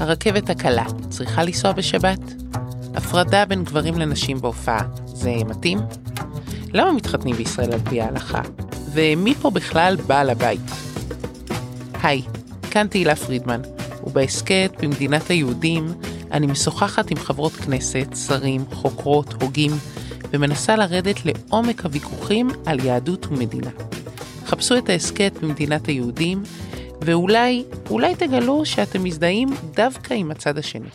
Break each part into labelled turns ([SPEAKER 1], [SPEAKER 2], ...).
[SPEAKER 1] הרכבת הקלה צריכה לנסוע בשבת? הפרדה בין גברים לנשים בהופעה, זה מתאים? למה מתחתנים בישראל על פי ההלכה? ומי פה בכלל בעל הבית? היי, כאן תהילה פרידמן, ובהסכת במדינת היהודים אני משוחחת עם חברות כנסת, שרים, חוקרות, הוגים, ומנסה לרדת לעומק הוויכוחים על יהדות ומדינה. חפשו את ההסכת במדינת היהודים, ואולי, אולי תגלו שאתם מזדהים דווקא עם הצד השני.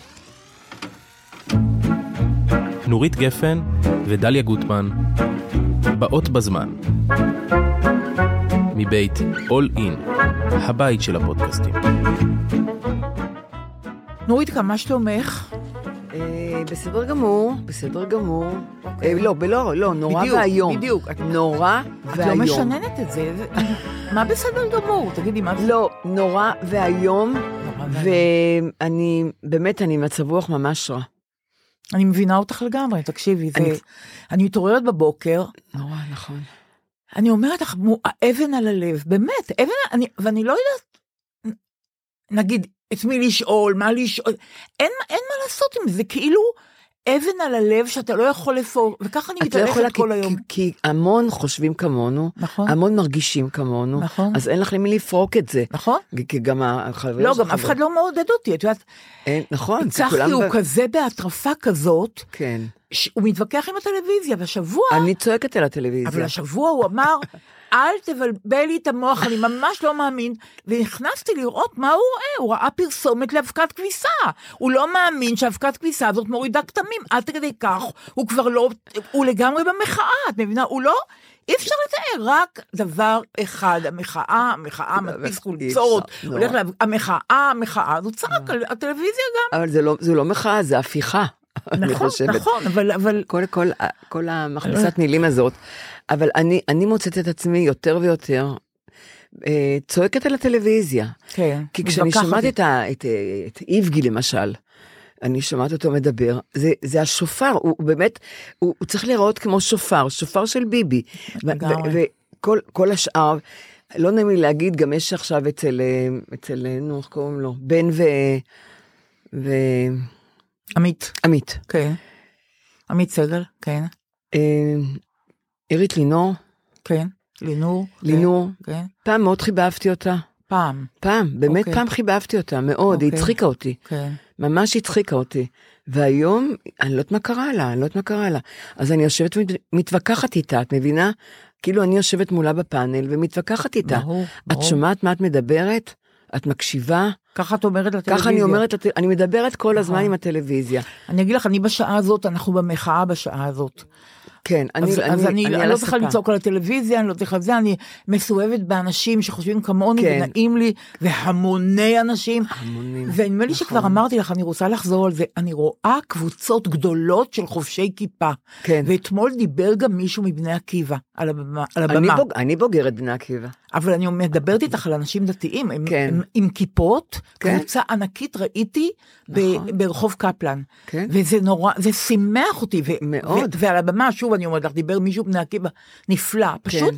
[SPEAKER 2] נורית גפן ודליה גוטמן, באות בזמן, מבית All In, הבית של הפודקאסטים.
[SPEAKER 3] נורית, מה שלומך?
[SPEAKER 4] אה, בסדר גמור, בסדר גמור. אה, לא, לא, לא, נורא
[SPEAKER 3] בדיוק,
[SPEAKER 4] ואיום.
[SPEAKER 3] בדיוק. את-
[SPEAKER 4] נורא
[SPEAKER 3] את לא
[SPEAKER 4] ואיום.
[SPEAKER 3] משננת את זה. זה- מה בסדר גמור? תגידי, מה זה?
[SPEAKER 4] לא, נורא ואיום,
[SPEAKER 3] נורא
[SPEAKER 4] לא.
[SPEAKER 3] ואיום.
[SPEAKER 4] ואני, באמת, אני מצב רוח ממש רע.
[SPEAKER 3] אני מבינה אותך לגמרי, תקשיבי. זה-
[SPEAKER 4] אני-
[SPEAKER 3] אני מתעוררת בבוקר,
[SPEAKER 4] נורא, נכון.
[SPEAKER 3] אני אומרת לך, מו- האבן על הלב, באמת, אבן, על- אני, ואני לא יודעת, נ- נגיד, את מי לשאול, מה לשאול, אין, אין מה לעשות עם זה, כאילו אבן על הלב שאתה לא יכול לפור, וככה אני
[SPEAKER 4] את לא
[SPEAKER 3] מתהלכת
[SPEAKER 4] יכולה, כי-
[SPEAKER 3] כל היום.
[SPEAKER 4] כי- כי המון חושבים כמונו,
[SPEAKER 3] נכון,
[SPEAKER 4] המון מרגישים כמונו,
[SPEAKER 3] נכון,
[SPEAKER 4] אז אין לך למי לפרוק את זה.
[SPEAKER 3] נכון?
[SPEAKER 4] כי גם החברים
[SPEAKER 3] לא,
[SPEAKER 4] שלך
[SPEAKER 3] גם אף אחד לא מעודד אותי, את יודעת,
[SPEAKER 4] אין, נכון, כי כולם...
[SPEAKER 3] צחי הוא
[SPEAKER 4] ב-
[SPEAKER 3] כזה בהטרפה כזאת,
[SPEAKER 4] כן.
[SPEAKER 3] שהוא מתווכח עם הטלוויזיה, והשבוע,
[SPEAKER 4] אני צועקת על הטלוויזיה.
[SPEAKER 3] אבל השבוע הוא אמר, אל תבלבל לי את המוח, אני ממש לא מאמין. ונכנסתי לראות מה הוא רואה, הוא ראה פרסומת לאבקת כביסה. הוא לא מאמין שאבקת כביסה הזאת מורידה כתמים, עד כדי כך, הוא כבר לא, הוא לגמרי במחאה, את מבינה? הוא לא, אי אפשר לתאר, רק דבר אחד, המחאה, המחאה, מדפיס חולצות,
[SPEAKER 4] לא, אפשר, לא.
[SPEAKER 3] הולך
[SPEAKER 4] נורא.
[SPEAKER 3] לה, המחאה, המחאה, אז הוא צעק על הטלוויזיה גם.
[SPEAKER 4] אבל זה לא, זה לא מחאה, זה הפיכה. אני
[SPEAKER 3] נכון,
[SPEAKER 4] חושבת.
[SPEAKER 3] נכון, אבל, אבל,
[SPEAKER 4] כל, כל, אה, כל
[SPEAKER 3] אה.
[SPEAKER 4] המכבסת מילים הזאת. אבל אני, אני מוצאת את עצמי יותר ויותר אה, צועקת על הטלוויזיה.
[SPEAKER 3] כן,
[SPEAKER 4] כי כשאני
[SPEAKER 3] מתווכחת
[SPEAKER 4] שומעת
[SPEAKER 3] איתו.
[SPEAKER 4] את, ה, את, אה, את איבגי למשל, אני שומעת אותו מדבר, זה, זה השופר, הוא, הוא באמת, הוא, הוא צריך להיראות כמו שופר, שופר של ביבי. ו-
[SPEAKER 3] לגמרי.
[SPEAKER 4] ו- וכל כל השאר, לא נעים לי להגיד, גם יש עכשיו אצל, אה, אצל, אה, נו, איך קוראים לו? בן ו... ועמית.
[SPEAKER 3] עמית, כן. עמית סגל, כן.
[SPEAKER 4] אה, עירית לינור,
[SPEAKER 3] כן, לינור.
[SPEAKER 4] לינור,
[SPEAKER 3] כן, כן,
[SPEAKER 4] פעם מאוד חיבבתי אותה.
[SPEAKER 3] פעם,
[SPEAKER 4] פעם, באמת
[SPEAKER 3] אוקיי.
[SPEAKER 4] פעם חיבבתי אותה, מאוד, היא
[SPEAKER 3] אוקיי.
[SPEAKER 4] הצחיקה אותי,
[SPEAKER 3] כן.
[SPEAKER 4] ממש הצחיקה אותי. והיום, אני לא יודעת מה קרה לה, אני לא יודעת מה קרה לה. אז אני יושבת ומתווכחת איתה, את מבינה? כאילו אני יושבת מולה בפאנל ומתווכחת איתה.
[SPEAKER 3] ברור,
[SPEAKER 4] את
[SPEAKER 3] ברור.
[SPEAKER 4] שומעת מה את מדברת? את מקשיבה?
[SPEAKER 3] ככה את אומרת לטלוויזיה.
[SPEAKER 4] ככה אני אומרת, לטל- אני מדברת כל הזמן
[SPEAKER 3] נכון.
[SPEAKER 4] עם הטלוויזיה.
[SPEAKER 3] אני אגיד לך, אני בשעה הזאת, אנחנו במחאה בשעה הזאת.
[SPEAKER 4] כן, אני
[SPEAKER 3] אז, אז אני, אני,
[SPEAKER 4] על
[SPEAKER 3] לא צריכה
[SPEAKER 4] הספה.
[SPEAKER 3] לצעוק על הטלוויזיה, אני לא צריכה זה, אני מסואבת באנשים שחושבים כמוני
[SPEAKER 4] כן.
[SPEAKER 3] ונעים לי, והמוני אנשים.
[SPEAKER 4] המונים.
[SPEAKER 3] ונדמה לי
[SPEAKER 4] נכון.
[SPEAKER 3] שכבר אמרתי לך, אני רוצה לחזור על זה, אני רואה קבוצות גדולות של חובשי כיפה.
[SPEAKER 4] כן.
[SPEAKER 3] ואתמול דיבר גם מישהו מבני עקיבא על הבמה. על הבמה.
[SPEAKER 4] אני בוג- אני בוגרת בני עקיבא.
[SPEAKER 3] אבל אני מדברת איתך על אנשים דתיים, הם,
[SPEAKER 4] כן.
[SPEAKER 3] הם עם כיפות,
[SPEAKER 4] כן.
[SPEAKER 3] קבוצה ענקית ראיתי ב,
[SPEAKER 4] נכון.
[SPEAKER 3] ברחוב קפלן.
[SPEAKER 4] כן.
[SPEAKER 3] וזה נורא, זה שימח אותי. ו,
[SPEAKER 4] מאוד.
[SPEAKER 3] ו, ועל הבמה, שוב אני אומרת לך, דיבר מישהו בני עקיבא, נפלא. פשוט,
[SPEAKER 4] כן.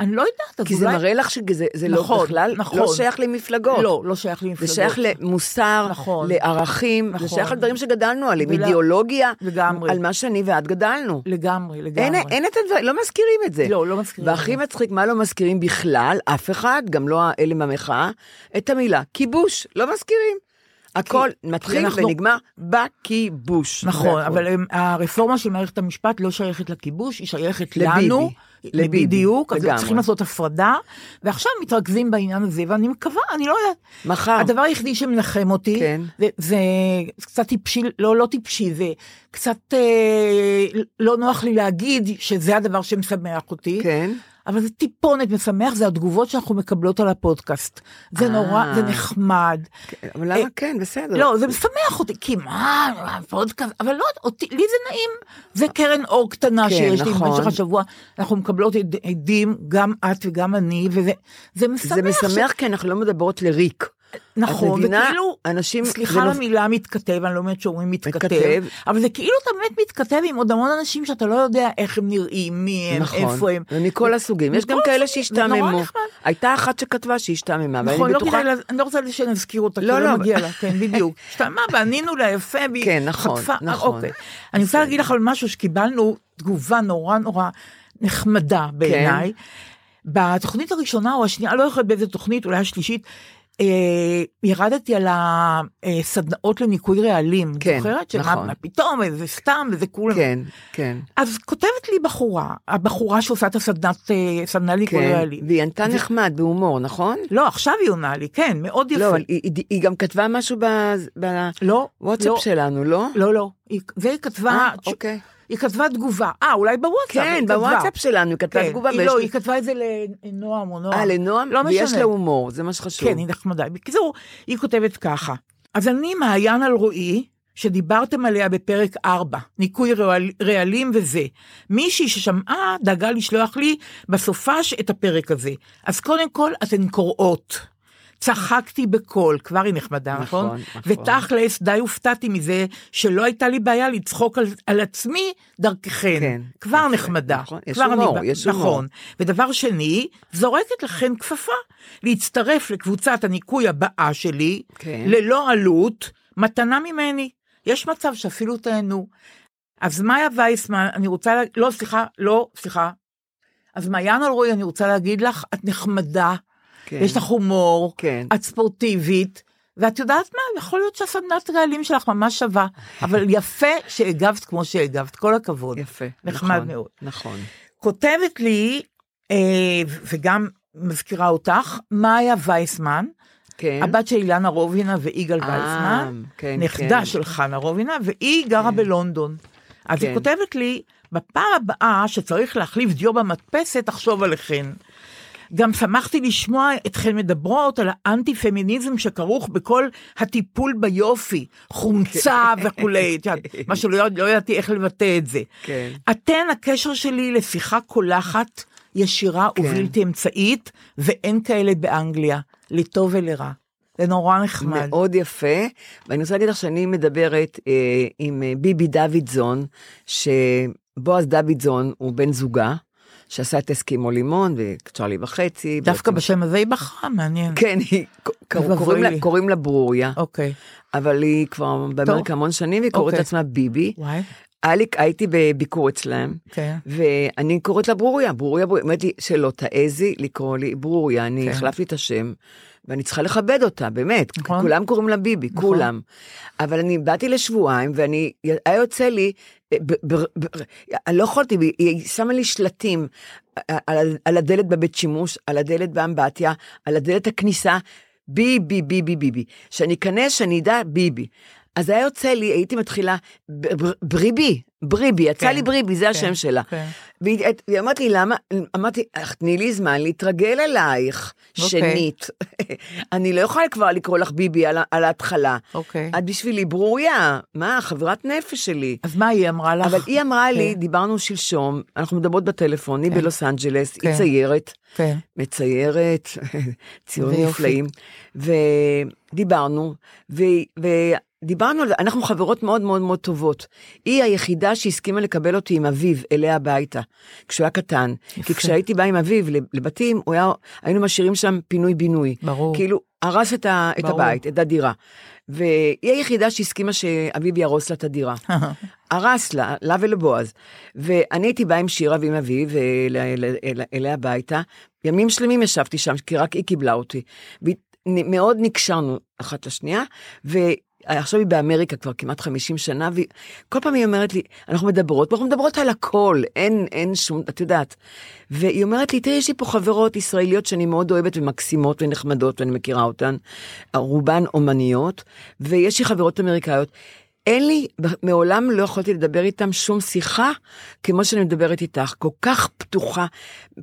[SPEAKER 3] אני לא יודעת, אז
[SPEAKER 4] כי זה
[SPEAKER 3] אולי...
[SPEAKER 4] מראה לך שזה זה לא
[SPEAKER 3] נכון,
[SPEAKER 4] בכלל, לא
[SPEAKER 3] נכון.
[SPEAKER 4] שייך למפלגות.
[SPEAKER 3] לא, לא שייך
[SPEAKER 4] זה
[SPEAKER 3] למפלגות.
[SPEAKER 4] שייך למוסר,
[SPEAKER 3] נכון.
[SPEAKER 4] לערכים, זה
[SPEAKER 3] נכון.
[SPEAKER 4] שייך לדברים שגדלנו עליהם,
[SPEAKER 3] ולה-
[SPEAKER 4] אידיאולוגיה,
[SPEAKER 3] לגמרי.
[SPEAKER 4] על מה שאני ואת גדלנו.
[SPEAKER 3] לגמרי,
[SPEAKER 4] אין,
[SPEAKER 3] לגמרי.
[SPEAKER 4] אין את הדברים, לא מזכירים את זה.
[SPEAKER 3] לא, לא מזכירים.
[SPEAKER 4] והכי מצחיק, מה לא מזכירים בכלל, אף אחד, גם לא אלה מהמחאה, את המילה כיבוש, לא מזכירים. הכל מתחיל
[SPEAKER 3] אנחנו-
[SPEAKER 4] ונגמר בכיבוש.
[SPEAKER 3] נכון,
[SPEAKER 4] זה הכל.
[SPEAKER 3] אבל הם- הרפורמה של מערכת המשפט לא שייכת לכיבוש, היא שייכת
[SPEAKER 4] לביבי.
[SPEAKER 3] לנו.
[SPEAKER 4] לביבי,
[SPEAKER 3] בדיוק, אז
[SPEAKER 4] לגמרי.
[SPEAKER 3] צריכים לעשות הפרדה, ועכשיו מתרכזים בעניין הזה, ואני מקווה, אני לא יודעת,
[SPEAKER 4] מחר.
[SPEAKER 3] הדבר היחידי שמנחם אותי,
[SPEAKER 4] אה. כן.
[SPEAKER 3] זה, זה קצת טיפשי, לא, לא טיפשי, זה קצת אה, לא נוח לי להגיד שזה הדבר שמשמח אותי,
[SPEAKER 4] כן.
[SPEAKER 3] אבל זה טיפונת משמח, זה התגובות שאנחנו מקבלות על הפודקאסט. זה
[SPEAKER 4] אה.
[SPEAKER 3] נורא, זה נחמד.
[SPEAKER 4] אבל
[SPEAKER 3] אה,
[SPEAKER 4] למה כן, בסדר.
[SPEAKER 3] לא, זה משמח אותי, כי מה, הפודקאסט, אבל לא, אותי, לי זה נעים. זה קרן אור קטנה
[SPEAKER 4] כן,
[SPEAKER 3] שיש לי
[SPEAKER 4] נכון.
[SPEAKER 3] במשך השבוע, אנחנו מקבלות עד- עדים, גם את וגם אני, וזה זה משמח.
[SPEAKER 4] זה
[SPEAKER 3] ש-
[SPEAKER 4] משמח כי אנחנו לא מדברות לריק. את
[SPEAKER 3] נכון,
[SPEAKER 4] מבינה?
[SPEAKER 3] וכאילו,
[SPEAKER 4] אנשים...
[SPEAKER 3] סליחה על
[SPEAKER 4] זה נופ-
[SPEAKER 3] המילה מתכתב, אני לא אומרת שאומרים מתכתב,
[SPEAKER 4] מתכתב.
[SPEAKER 3] אבל זה כאילו אתה באמת מתכתב עם עוד המון אנשים שאתה לא יודע איך הם נראים, מי הם,
[SPEAKER 4] נכון,
[SPEAKER 3] איפה הם.
[SPEAKER 4] ומכל הסוגים. יש גם
[SPEAKER 3] מכל
[SPEAKER 4] כאלה
[SPEAKER 3] הסוגים, זה נורא
[SPEAKER 4] שהשתעממו.
[SPEAKER 3] נחמד.
[SPEAKER 4] הייתה אחת שכתבה שהשתעממה, אבל
[SPEAKER 3] נכון,
[SPEAKER 4] אני
[SPEAKER 3] לא
[SPEAKER 4] בטוחה...
[SPEAKER 3] כדאי, לה- אני לא רוצה שנזכיר אותה, כי
[SPEAKER 4] לא,
[SPEAKER 3] לא
[SPEAKER 4] לא.
[SPEAKER 3] מגיע לה, כן, בדיוק. השתלמה, וענינו לה יפה, והיא
[SPEAKER 4] כן, נכון,
[SPEAKER 3] חטפה- אה,
[SPEAKER 4] נכון.
[SPEAKER 3] אוקיי. אני רוצה להגיד לך על משהו שקיבלנו תגובה נורא נורא נחמדה בעיניי.
[SPEAKER 4] כן.
[SPEAKER 3] בתוכנית הראשונה או השנייה, לא יכולת באיזה תוכנית, אולי השלישית, אה, ירדתי על הסדנאות לניקוי רעלים,
[SPEAKER 4] כן,
[SPEAKER 3] זוכרת? שמה-
[SPEAKER 4] נכון.
[SPEAKER 3] מה פתאום, איזה סתם, איזה כולם.
[SPEAKER 4] כן, כן.
[SPEAKER 3] אז כותבת לי בחורה, הבחורה שעושה את הסדנת, אה, סדנה לניקוי
[SPEAKER 4] כן,
[SPEAKER 3] רעלים.
[SPEAKER 4] והיא ענתה
[SPEAKER 3] ו-
[SPEAKER 4] נחמד בהומור, נכון?
[SPEAKER 3] לא, עכשיו היא עונה לי, כן, מאוד יפה.
[SPEAKER 4] לא, אבל היא- היא- היא גם כתבה משהו ב-
[SPEAKER 3] לא, לא,
[SPEAKER 4] בוואטסאפ שלנו, לא?
[SPEAKER 3] לא, לא. היא- זה היא כתבה,
[SPEAKER 4] אה, אוקיי.
[SPEAKER 3] היא כתבה תגובה. אה, אולי בוואטסאפ.
[SPEAKER 4] כן,
[SPEAKER 3] היא כתבה.
[SPEAKER 4] בוואטסאפ שלנו, היא כתבה
[SPEAKER 3] כן,
[SPEAKER 4] תגובה.
[SPEAKER 3] היא
[SPEAKER 4] ויש
[SPEAKER 3] לא,
[SPEAKER 4] לי-
[SPEAKER 3] היא כתבה את זה לנועם או נועם.
[SPEAKER 4] אה, לנועם?
[SPEAKER 3] לא
[SPEAKER 4] ויש
[SPEAKER 3] משנה.
[SPEAKER 4] לה הומור, זה מה שחשוב.
[SPEAKER 3] כן, היא נחמדה. בקיצור, היא כותבת ככה. אז אני מעיין על רועי, שדיברתם עליה בפרק 4, ניקוי רעל, רעלים וזה. מישהי ששמעה דאגה לשלוח לי בסופש את הפרק הזה. אז קודם כל, אתן קוראות. צחקתי בקול, כבר היא נחמדה, נכון?
[SPEAKER 4] נכון, נכון.
[SPEAKER 3] ותכלס, די הופתעתי מזה שלא הייתה לי בעיה לצחוק על, על עצמי דרככן.
[SPEAKER 4] כן,
[SPEAKER 3] כבר
[SPEAKER 4] יפה,
[SPEAKER 3] נחמדה.
[SPEAKER 4] נכון. יש
[SPEAKER 3] כבר אני
[SPEAKER 4] הומור,
[SPEAKER 3] ב-
[SPEAKER 4] יש
[SPEAKER 3] נכון.
[SPEAKER 4] הומור.
[SPEAKER 3] ודבר שני, זורקת לכן כפפה להצטרף לקבוצת הניקוי הבאה שלי,
[SPEAKER 4] כן.
[SPEAKER 3] ללא עלות, מתנה ממני. יש מצב שאפילו תהנו. אז מאיה וייסמן, אני רוצה, לה... לא, סליחה, לא, סליחה. אז מעיין אלרועי, אני רוצה להגיד לך, את נחמדה,
[SPEAKER 4] כן.
[SPEAKER 3] יש לך הומור,
[SPEAKER 4] כן.
[SPEAKER 3] את ספורטיבית, ואת יודעת מה, יכול להיות שהסדנת רעלים שלך ממש שווה, אבל יפה שהגבת כמו שהגבת, כל הכבוד.
[SPEAKER 4] יפה.
[SPEAKER 3] אה, נחמד
[SPEAKER 4] נכון,
[SPEAKER 3] מאוד.
[SPEAKER 4] נכון.
[SPEAKER 3] כותבת לי, אה, ו- וגם מזכירה אותך, מאיה וייסמן,
[SPEAKER 4] כן.
[SPEAKER 3] הבת של אילנה רובינה ויגאל
[SPEAKER 4] אה,
[SPEAKER 3] וייסמן,
[SPEAKER 4] כן,
[SPEAKER 3] נכדה
[SPEAKER 4] כן.
[SPEAKER 3] של חנה רובינה, והיא גרה
[SPEAKER 4] כן.
[SPEAKER 3] בלונדון. אז היא
[SPEAKER 4] כן.
[SPEAKER 3] כותבת לי, בפעם הבאה שצריך להחליף דיו במדפסת, תחשוב עליכן. גם שמחתי לשמוע אתכן מדברות על האנטי-פמיניזם שכרוך בכל הטיפול ביופי, חומצה וכולי, את יודעת, מה שלא לא ידעתי איך לבטא את זה.
[SPEAKER 4] כן.
[SPEAKER 3] אתן הקשר שלי לשיחה קולחת, ישירה כן. ובלתי אמצעית, ואין כאלה באנגליה, לטוב ולרע. זה נורא נחמד.
[SPEAKER 4] מאוד יפה, ואני רוצה להגיד לך שאני מדברת אה, עם אה, ביבי דוידזון, שבועז דוידזון הוא בן זוגה, שעשה את אסקימו לימון וצ'רלי וחצי.
[SPEAKER 3] דווקא
[SPEAKER 4] בעצם-
[SPEAKER 3] בשם הזה היא בחרה, מעניין.
[SPEAKER 4] כן, היא,
[SPEAKER 3] אוי
[SPEAKER 4] קור, קוראים, לה,
[SPEAKER 3] לי.
[SPEAKER 4] קוראים לה ברוריה,
[SPEAKER 3] אוקיי.
[SPEAKER 4] אבל היא כבר באמריקה המון שנים, והיא קוראת
[SPEAKER 3] אוקיי.
[SPEAKER 4] לעצמה ביבי.
[SPEAKER 3] וואי,
[SPEAKER 4] אליק, הייתי בביקור אצלם,
[SPEAKER 3] כן.
[SPEAKER 4] ואני קוראת לה ברוריה, ברוריה, ברוריה, אומרת לי שלא תעזי לקרוא לי ברוריה, אני
[SPEAKER 3] כן.
[SPEAKER 4] החלפתי את השם, ואני צריכה לכבד אותה, באמת,
[SPEAKER 3] נכון.
[SPEAKER 4] כולם קוראים לה ביבי,
[SPEAKER 3] נכון.
[SPEAKER 4] כולם. אבל אני באתי לשבועיים, ואני, היה יוצא לי, אה, ב- ב- ב- אני לא יכולתי, היא- היא שמה לי שלטים אה, על, על הדלת בבית שימוש, על הדלת באמבטיה, על הדלת הכניסה, ביבי, ביבי, ביבי. שאני אכנס, שאני אדע, ביבי. אז היה יוצא לי, הייתי מתחילה, ב- בר- בריבי, בריבי, יצא
[SPEAKER 3] כן,
[SPEAKER 4] לי בריבי, זה השם שלה.
[SPEAKER 3] כן.
[SPEAKER 4] והיא והיא אמרת לי, למה? אמרתי, "אך, תני לי זמן להתרגל אלייך,
[SPEAKER 3] אוקיי.
[SPEAKER 4] שנית. אני לא יכולה כבר לקרוא לך ביבי על ה- על ההתחלה.
[SPEAKER 3] אוקיי.
[SPEAKER 4] את בשבילי ברוריה, מה, חברת נפש שלי.
[SPEAKER 3] אז מה היא אמרה לך?
[SPEAKER 4] אבל היא אמרה לי,
[SPEAKER 3] כן.
[SPEAKER 4] דיברנו שלשום, אנחנו מדברות בטלפון, היא
[SPEAKER 3] כן.
[SPEAKER 4] בלוס אנג'לס, היא
[SPEAKER 3] כן.
[SPEAKER 4] ציירת,
[SPEAKER 3] כן.
[SPEAKER 4] מציירת, ציורים
[SPEAKER 3] ויופי.
[SPEAKER 4] נפלאים, ודיברנו, ו... ו... דיברנו על זה, אנחנו חברות מאוד מאוד מאוד טובות. היא היחידה שהסכימה לקבל אותי עם אביו אליה הביתה, כשהוא היה קטן.
[SPEAKER 3] יפה.
[SPEAKER 4] כי כשהייתי באה עם אביו לבתים, הוא היה, היינו משאירים שם פינוי-בינוי.
[SPEAKER 3] ברור.
[SPEAKER 4] כאילו, הרס את, ה, את
[SPEAKER 3] ברור.
[SPEAKER 4] הבית, את הדירה. והיא היחידה שהסכימה שאביו יהרוס לה את הדירה. הרס לה, לה ולבועז. ואני הייתי באה עם שירה ועם אביו אל, אל, אל, אליה הביתה. ימים שלמים ישבתי שם, כי רק היא קיבלה אותי. והיא- נ- מאוד נקשרנו אחת לשנייה, ועכשיו היא באמריקה כבר כמעט 50 שנה, והיא כל פעם היא אומרת לי, אנחנו מדברות, אנחנו מדברות על הכל, אין, אין שום, את יודעת. והיא אומרת לי, תראי, יש לי פה חברות ישראליות שאני מאוד אוהבת ומקסימות ונחמדות, ואני מכירה אותן, רובן אומניות, ויש לי חברות אמריקאיות. אין לי, מעולם לא יכולתי לדבר איתם שום שיחה כמו שאני מדברת איתך. כל כך פתוחה,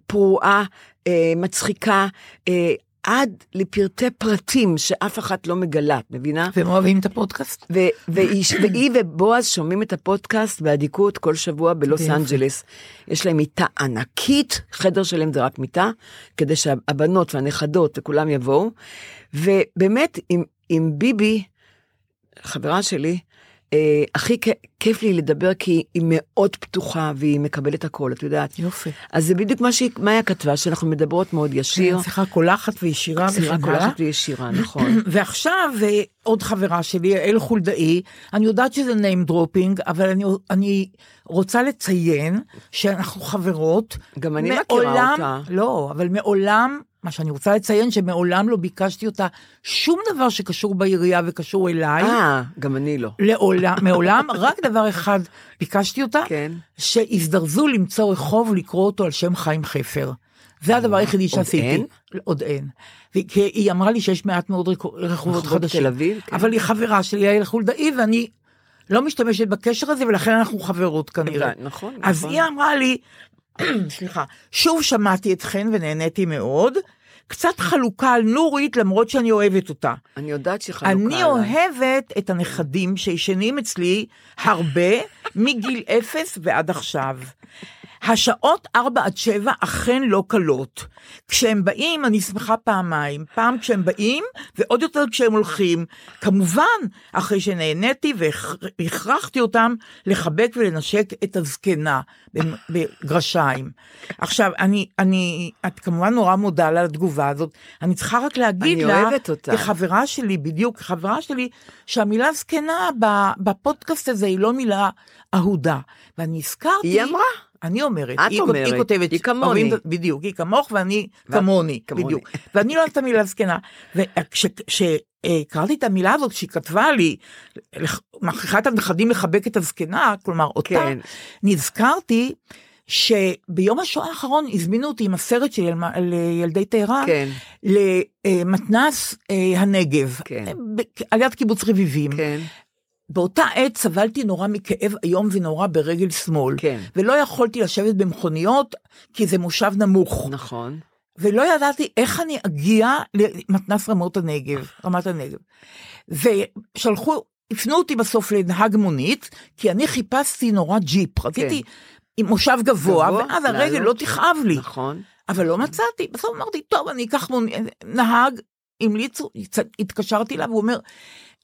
[SPEAKER 4] פרועה, אה, מצחיקה, אה, עד לפרטי פרטים שאף אחת לא מגלה, את מבינה?
[SPEAKER 3] והם אוהבים את הפודקאסט.
[SPEAKER 4] ו- והיא, והיא ובועז שומעים את הפודקאסט באדיקות כל שבוע בלוס
[SPEAKER 3] יופי.
[SPEAKER 4] אנג'לס. יש להם מיטה ענקית, חדר שלם זה רק מיטה, כדי שהבנות והנכדות וכולם יבואו. ובאמת, עם, עם ביבי, חברה שלי, אה, הכי כ- כיף לי לדבר כי היא מאוד פתוחה והיא מקבלת הכל, את יודעת.
[SPEAKER 3] יופי.
[SPEAKER 4] אז זה בדיוק מה שהיא מאיה כתבה, שאנחנו מדברות מאוד ישיר.
[SPEAKER 3] שיחה אה, קולחת וישירה
[SPEAKER 4] שירה
[SPEAKER 3] וכן הלאה.
[SPEAKER 4] קולחת וישירה, נכון.
[SPEAKER 3] ועכשיו אה, עוד חברה שלי, יעל חולדאי, אני יודעת שזה name dropping, אבל אני, אני רוצה לציין שאנחנו חברות.
[SPEAKER 4] גם אני מכירה
[SPEAKER 3] מעולם-
[SPEAKER 4] אותה.
[SPEAKER 3] לא, אבל מעולם, מה שאני רוצה לציין, שמעולם לא ביקשתי אותה שום דבר שקשור בעירייה וקשור אליי.
[SPEAKER 4] אה, גם אני לא.
[SPEAKER 3] לעולם, מעולם, רק דבר אחד ביקשתי אותה,
[SPEAKER 4] כן.
[SPEAKER 3] שהזדרזו למצוא רחוב לקרוא אותו על שם חיים חפר. זה הדבר היחידי שעשיתי.
[SPEAKER 4] אה, אין?
[SPEAKER 3] עוד אין. והיא- כי היא אמרה לי שיש מעט מאוד רחוב- רחובות
[SPEAKER 4] רחובות
[SPEAKER 3] חדשים.
[SPEAKER 4] תל אביב, כן.
[SPEAKER 3] אבל היא חברה שלי, יעל חולדאי, ואני לא משתמשת בקשר הזה, ולכן אנחנו חברות כנראה.
[SPEAKER 4] הבנ- נכון,
[SPEAKER 3] אז
[SPEAKER 4] נכון.
[SPEAKER 3] היא אמרה לי, סליחה, שוב שמעתי אתכן ונהניתי מאוד. קצת חלוקה על נורית, למרות שאני אוהבת אותה.
[SPEAKER 4] אני יודעת שהיא חלוקה עליי.
[SPEAKER 3] אני אוהבת את הנכדים שישנים אצלי הרבה, מגיל אפס ועד עכשיו. השעות 4 עד 7 אכן לא קלות. כשהם באים, אני שמחה פעמיים. פעם כשהם באים, ועוד יותר כשהם הולכים. כמובן, אחרי שנהניתי והכרחתי אותם לחבק ולנשק את הזקנה, במ- בגרשיים. עכשיו, אני, אני, את כמובן נורא מודה לה על התגובה הזאת. אני צריכה רק להגיד
[SPEAKER 4] אני
[SPEAKER 3] לה,
[SPEAKER 4] אוהבת אותה.
[SPEAKER 3] כחבר- חברה שלי, בדיוק חברה שלי, שהמילה זקנה ב- בפודקאסט הזה היא לא מילה אהודה. ואני הזכרתי...
[SPEAKER 4] היא אמרה.
[SPEAKER 3] אני אומרת.
[SPEAKER 4] את
[SPEAKER 3] היא כות-
[SPEAKER 4] אומרת,
[SPEAKER 3] היא כותבת...
[SPEAKER 4] היא כמוני.
[SPEAKER 3] אומרים- בדיוק, היא כמוך ואני
[SPEAKER 4] ו-
[SPEAKER 3] כמוני,
[SPEAKER 4] כמוני.
[SPEAKER 3] בדיוק. ואני לא אוהבת את המילה זקנה. וכשקראתי את המילה הזאת, כשהיא כתבה לי, "לח- מכריחה את הנכדים לחבק את הזקנה, כלומר אותה,
[SPEAKER 4] כן.
[SPEAKER 3] נזכרתי שביום השואה האחרון הזמינו אותי עם הסרט שלי על מה- על אה, ילדי טהרן,
[SPEAKER 4] כן.
[SPEAKER 3] למתנ"ס אה, הנגב,
[SPEAKER 4] כן.
[SPEAKER 3] ב- על יד קיבוץ רביבים.
[SPEAKER 4] כן.
[SPEAKER 3] באותה עת סבלתי נורא מכאב איום ונורא ברגל שמאל.
[SPEAKER 4] כן.
[SPEAKER 3] ולא יכולתי לשבת במכוניות, כי זה מושב נמוך.
[SPEAKER 4] נכון.
[SPEAKER 3] ולא ידעתי איך אני אגיע למתנ"ס רמות הנגב,
[SPEAKER 4] נכון.
[SPEAKER 3] רמת הנגב. ושלחו, הפנו אותי בסוף לנהג מונית, כי אני חיפשתי נורא ג'יפ, רציתי עם מושב גבוה,
[SPEAKER 4] כן. גבוה,
[SPEAKER 3] ואז הרגל לא
[SPEAKER 4] לעלות.
[SPEAKER 3] תכאב לי.
[SPEAKER 4] נכון.
[SPEAKER 3] אבל לא מצאתי, בסוף אמרתי, טוב, אני אקח מונ... נהג, המליצו, הצ- התקשרתי אליו, הוא אומר,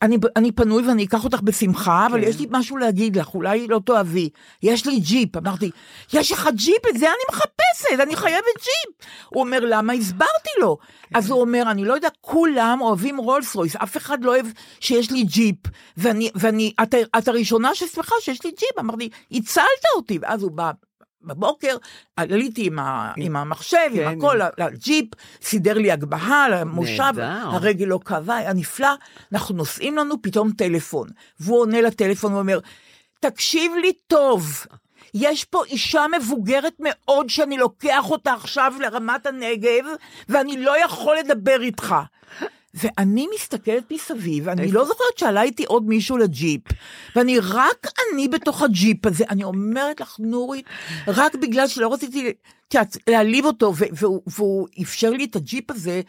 [SPEAKER 3] אני, אני פנוי ואני אקח אותך בשמחה, אבל
[SPEAKER 4] כן.
[SPEAKER 3] יש לי משהו להגיד לך, אולי לא תאהבי. יש לי ג'יפ, אמרתי, יש לך ג'יפ, את זה אני מחפשת, אני חייבת ג'יפ. הוא אומר, למה? הסברתי לו.
[SPEAKER 4] כן.
[SPEAKER 3] אז הוא אומר, אני לא יודע, כולם אוהבים רולס רויס, אף אחד לא אוהב שיש לי ג'יפ. ואני, ואני, את, את הראשונה ששמחה שיש לי ג'יפ. אמרתי, הצלת אותי, ואז הוא בא. בבוקר עליתי עם, ה, עם המחשב,
[SPEAKER 4] כן,
[SPEAKER 3] עם הכל, לג'יפ, סידר לי הגבהה למושב,
[SPEAKER 4] נהדר.
[SPEAKER 3] הרגל לא כאבה, היה נפלא, אנחנו נוסעים לנו פתאום טלפון. והוא עונה לטלפון ואומר, תקשיב לי טוב, יש פה אישה מבוגרת מאוד שאני לוקח אותה עכשיו לרמת הנגב, ואני לא יכול לדבר איתך. ואני מסתכלת מסביב, אני לא זוכרת שעלה איתי עוד מישהו לג'יפ, ואני רק אני בתוך הג'יפ הזה, אני אומרת לך, נורית, רק בגלל שלא רציתי את יודעת, להעליב אותו, ו- והוא, והוא אפשר לי את הג'יפ הזה,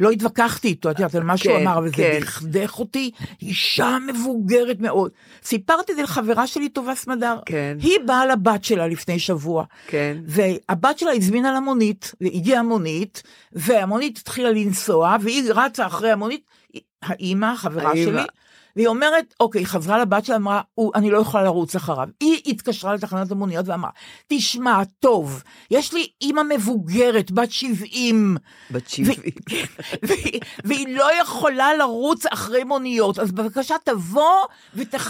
[SPEAKER 3] לא התווכחתי איתו, את יודעת, על מה שהוא
[SPEAKER 4] כן,
[SPEAKER 3] אמר, אבל זה
[SPEAKER 4] כן.
[SPEAKER 3] דכדך אותי, אישה מבוגרת מאוד. סיפרתי את זה לחברה שלי, טובה סמדר,
[SPEAKER 4] כן.
[SPEAKER 3] היא באה לבת שלה לפני שבוע,
[SPEAKER 4] כן.
[SPEAKER 3] והבת שלה הזמינה לה מונית, והגיעה מונית, והמונית התחילה לנסוע, והיא רצה אחרי המונית, האימא, החברה
[SPEAKER 4] האמא.
[SPEAKER 3] שלי, והיא אומרת, אוקיי, חזרה לבת שלה, אמרה, "הוא- אני לא יכולה לרוץ אחריו. היא התקשרה לתחנת המוניות ואמרה, תשמע, טוב, יש לי אימא מבוגרת, בת 70,
[SPEAKER 4] בת שבעים.
[SPEAKER 3] והיא, והיא לא יכולה לרוץ אחרי מוניות, אז בבקשה תבוא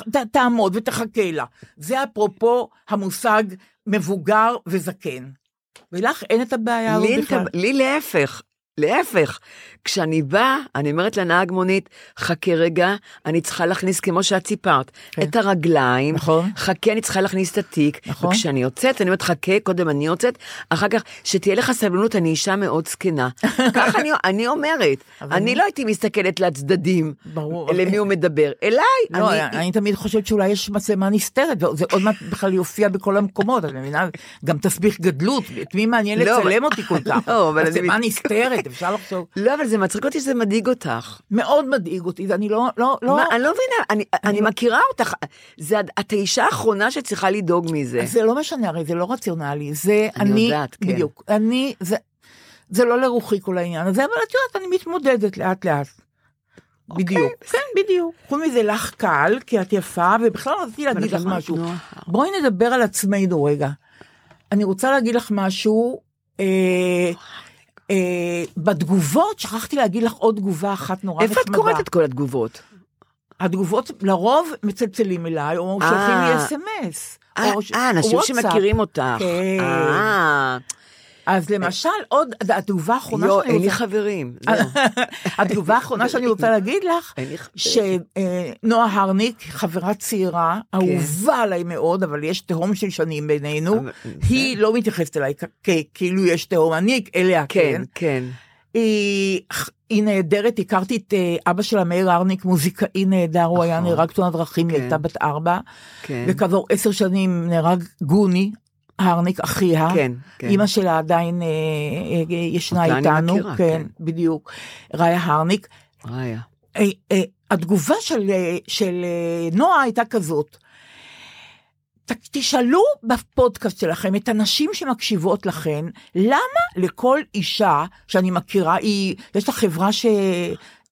[SPEAKER 3] ותעמוד ותחכה לה. זה אפרופו המושג מבוגר וזקן. ולך אין את הבעיה הזאת
[SPEAKER 4] לי אין
[SPEAKER 3] בכלל.
[SPEAKER 4] את ה- לי להפך. להפך, כשאני באה, אני אומרת לנהג מונית, חכה רגע, אני צריכה להכניס, כמו שאת סיפרת,
[SPEAKER 3] כן.
[SPEAKER 4] את הרגליים,
[SPEAKER 3] נכון.
[SPEAKER 4] חכה, אני צריכה להכניס את התיק,
[SPEAKER 3] נכון.
[SPEAKER 4] וכשאני יוצאת, אני אומרת, חכה, קודם אני יוצאת, אחר כך, שתהיה לך סבלנות, אני אישה מאוד זקנה. כך אני, אני אומרת,
[SPEAKER 3] אבל
[SPEAKER 4] אני
[SPEAKER 3] מי-
[SPEAKER 4] לא הייתי מסתכלת לצדדים,
[SPEAKER 3] ברור. אוקיי.
[SPEAKER 4] למי הוא מדבר, אליי,
[SPEAKER 3] לא,
[SPEAKER 4] אני-
[SPEAKER 3] אני, אני תמיד חושבת שאולי יש מצלמה נסתרת, וזה עוד מעט בכלל יופיע בכל המקומות, את מבינה? גם תסביך גדלות, את מי מעניין
[SPEAKER 4] לא,
[SPEAKER 3] לצלם
[SPEAKER 4] אבל-
[SPEAKER 3] אותי כל כך?
[SPEAKER 4] לא, אבל אני-
[SPEAKER 3] מצלמה נסתרת, אפשר לחשוב.
[SPEAKER 4] לא, אבל זה מצחיק אותי שזה מדאיג אותך.
[SPEAKER 3] מאוד מדאיג אותי, אני לא, לא, לא...
[SPEAKER 4] מה, אני לא מבינה, אני, אני מכירה אותך. זה, את האישה האחרונה שצריכה לדאוג מזה.
[SPEAKER 3] אז זה לא משנה, הרי זה לא רציונלי, זה
[SPEAKER 4] אני
[SPEAKER 3] אני...
[SPEAKER 4] יודעת, כן.
[SPEAKER 3] בדיוק. אני, זה... זה לא לרוחי כל העניין הזה, אבל את יודעת, אני מתמודדת לאט לאט.
[SPEAKER 4] אוקיי,
[SPEAKER 3] בדיוק. כן, בדיוק. חוץ מזה לך קל, כי את יפה, ובכלל רציתי
[SPEAKER 4] אבל נכון,
[SPEAKER 3] להגיד
[SPEAKER 4] את
[SPEAKER 3] לך
[SPEAKER 4] אמרת
[SPEAKER 3] משהו.
[SPEAKER 4] נורא.
[SPEAKER 3] בואי נדבר על עצמנו רגע. אני רוצה להגיד לך משהו. אה, אה, בתגובות, שכחתי להגיד לך עוד תגובה אחת נורא
[SPEAKER 4] איפה
[SPEAKER 3] נחמדה.
[SPEAKER 4] את קוראת את כל התגובות?
[SPEAKER 3] התגובות לרוב מצלצלים אליי, או
[SPEAKER 4] אה.
[SPEAKER 3] שולחים לי אס.אם.אס.
[SPEAKER 4] אה,
[SPEAKER 3] או ש-
[SPEAKER 4] אה, אנשים
[SPEAKER 3] אוקיי. וואטסאפ.
[SPEAKER 4] שמכירים אותך.
[SPEAKER 3] כן.
[SPEAKER 4] אה,
[SPEAKER 3] אז למשל, עוד, התגובה האחרונה
[SPEAKER 4] יואו,
[SPEAKER 3] שאני
[SPEAKER 4] אין לי
[SPEAKER 3] רוצה-
[SPEAKER 4] חברים.
[SPEAKER 3] אה.
[SPEAKER 4] זהו.
[SPEAKER 3] התגובה האחרונה שאני רוצה להגיד לך,
[SPEAKER 4] אין לי חברים.
[SPEAKER 3] שנועה הרניק, חברה צעירה,
[SPEAKER 4] כן.
[SPEAKER 3] אהובה עליי מאוד, אבל יש תהום של שנים בינינו,
[SPEAKER 4] אבל-
[SPEAKER 3] היא לא מתייחסת אליי כ- כ- כאילו יש תהום, אני אליה
[SPEAKER 4] כן,
[SPEAKER 3] כן.
[SPEAKER 4] כן.
[SPEAKER 3] היא היא נהדרת, הכרתי את אה, אבא שלה, מאיר הרניק, מוזיקאי נהדר, הוא היה
[SPEAKER 4] נכון.
[SPEAKER 3] נהרג תאונת דרכים, היא
[SPEAKER 4] כן.
[SPEAKER 3] הייתה בת ארבע,
[SPEAKER 4] כן.
[SPEAKER 3] וכעבור עשר שנים נהרג גוני, הרניק אחיה.
[SPEAKER 4] כן, כן.
[SPEAKER 3] אימא שלה עדיין אה, אה, אה, ישנה
[SPEAKER 4] אותה אני
[SPEAKER 3] איתנו,
[SPEAKER 4] מכירה,
[SPEAKER 3] כן,
[SPEAKER 4] כן.
[SPEAKER 3] בדיוק, ראיה הרניק.
[SPEAKER 4] ראיה.
[SPEAKER 3] אה, אה, התגובה של, אה, של אה, נועה הייתה כזאת, ת- תשאלו בפודקאסט שלכם את הנשים שמקשיבות לכן, למה לכל אישה שאני מכירה, היא, יש לה חברה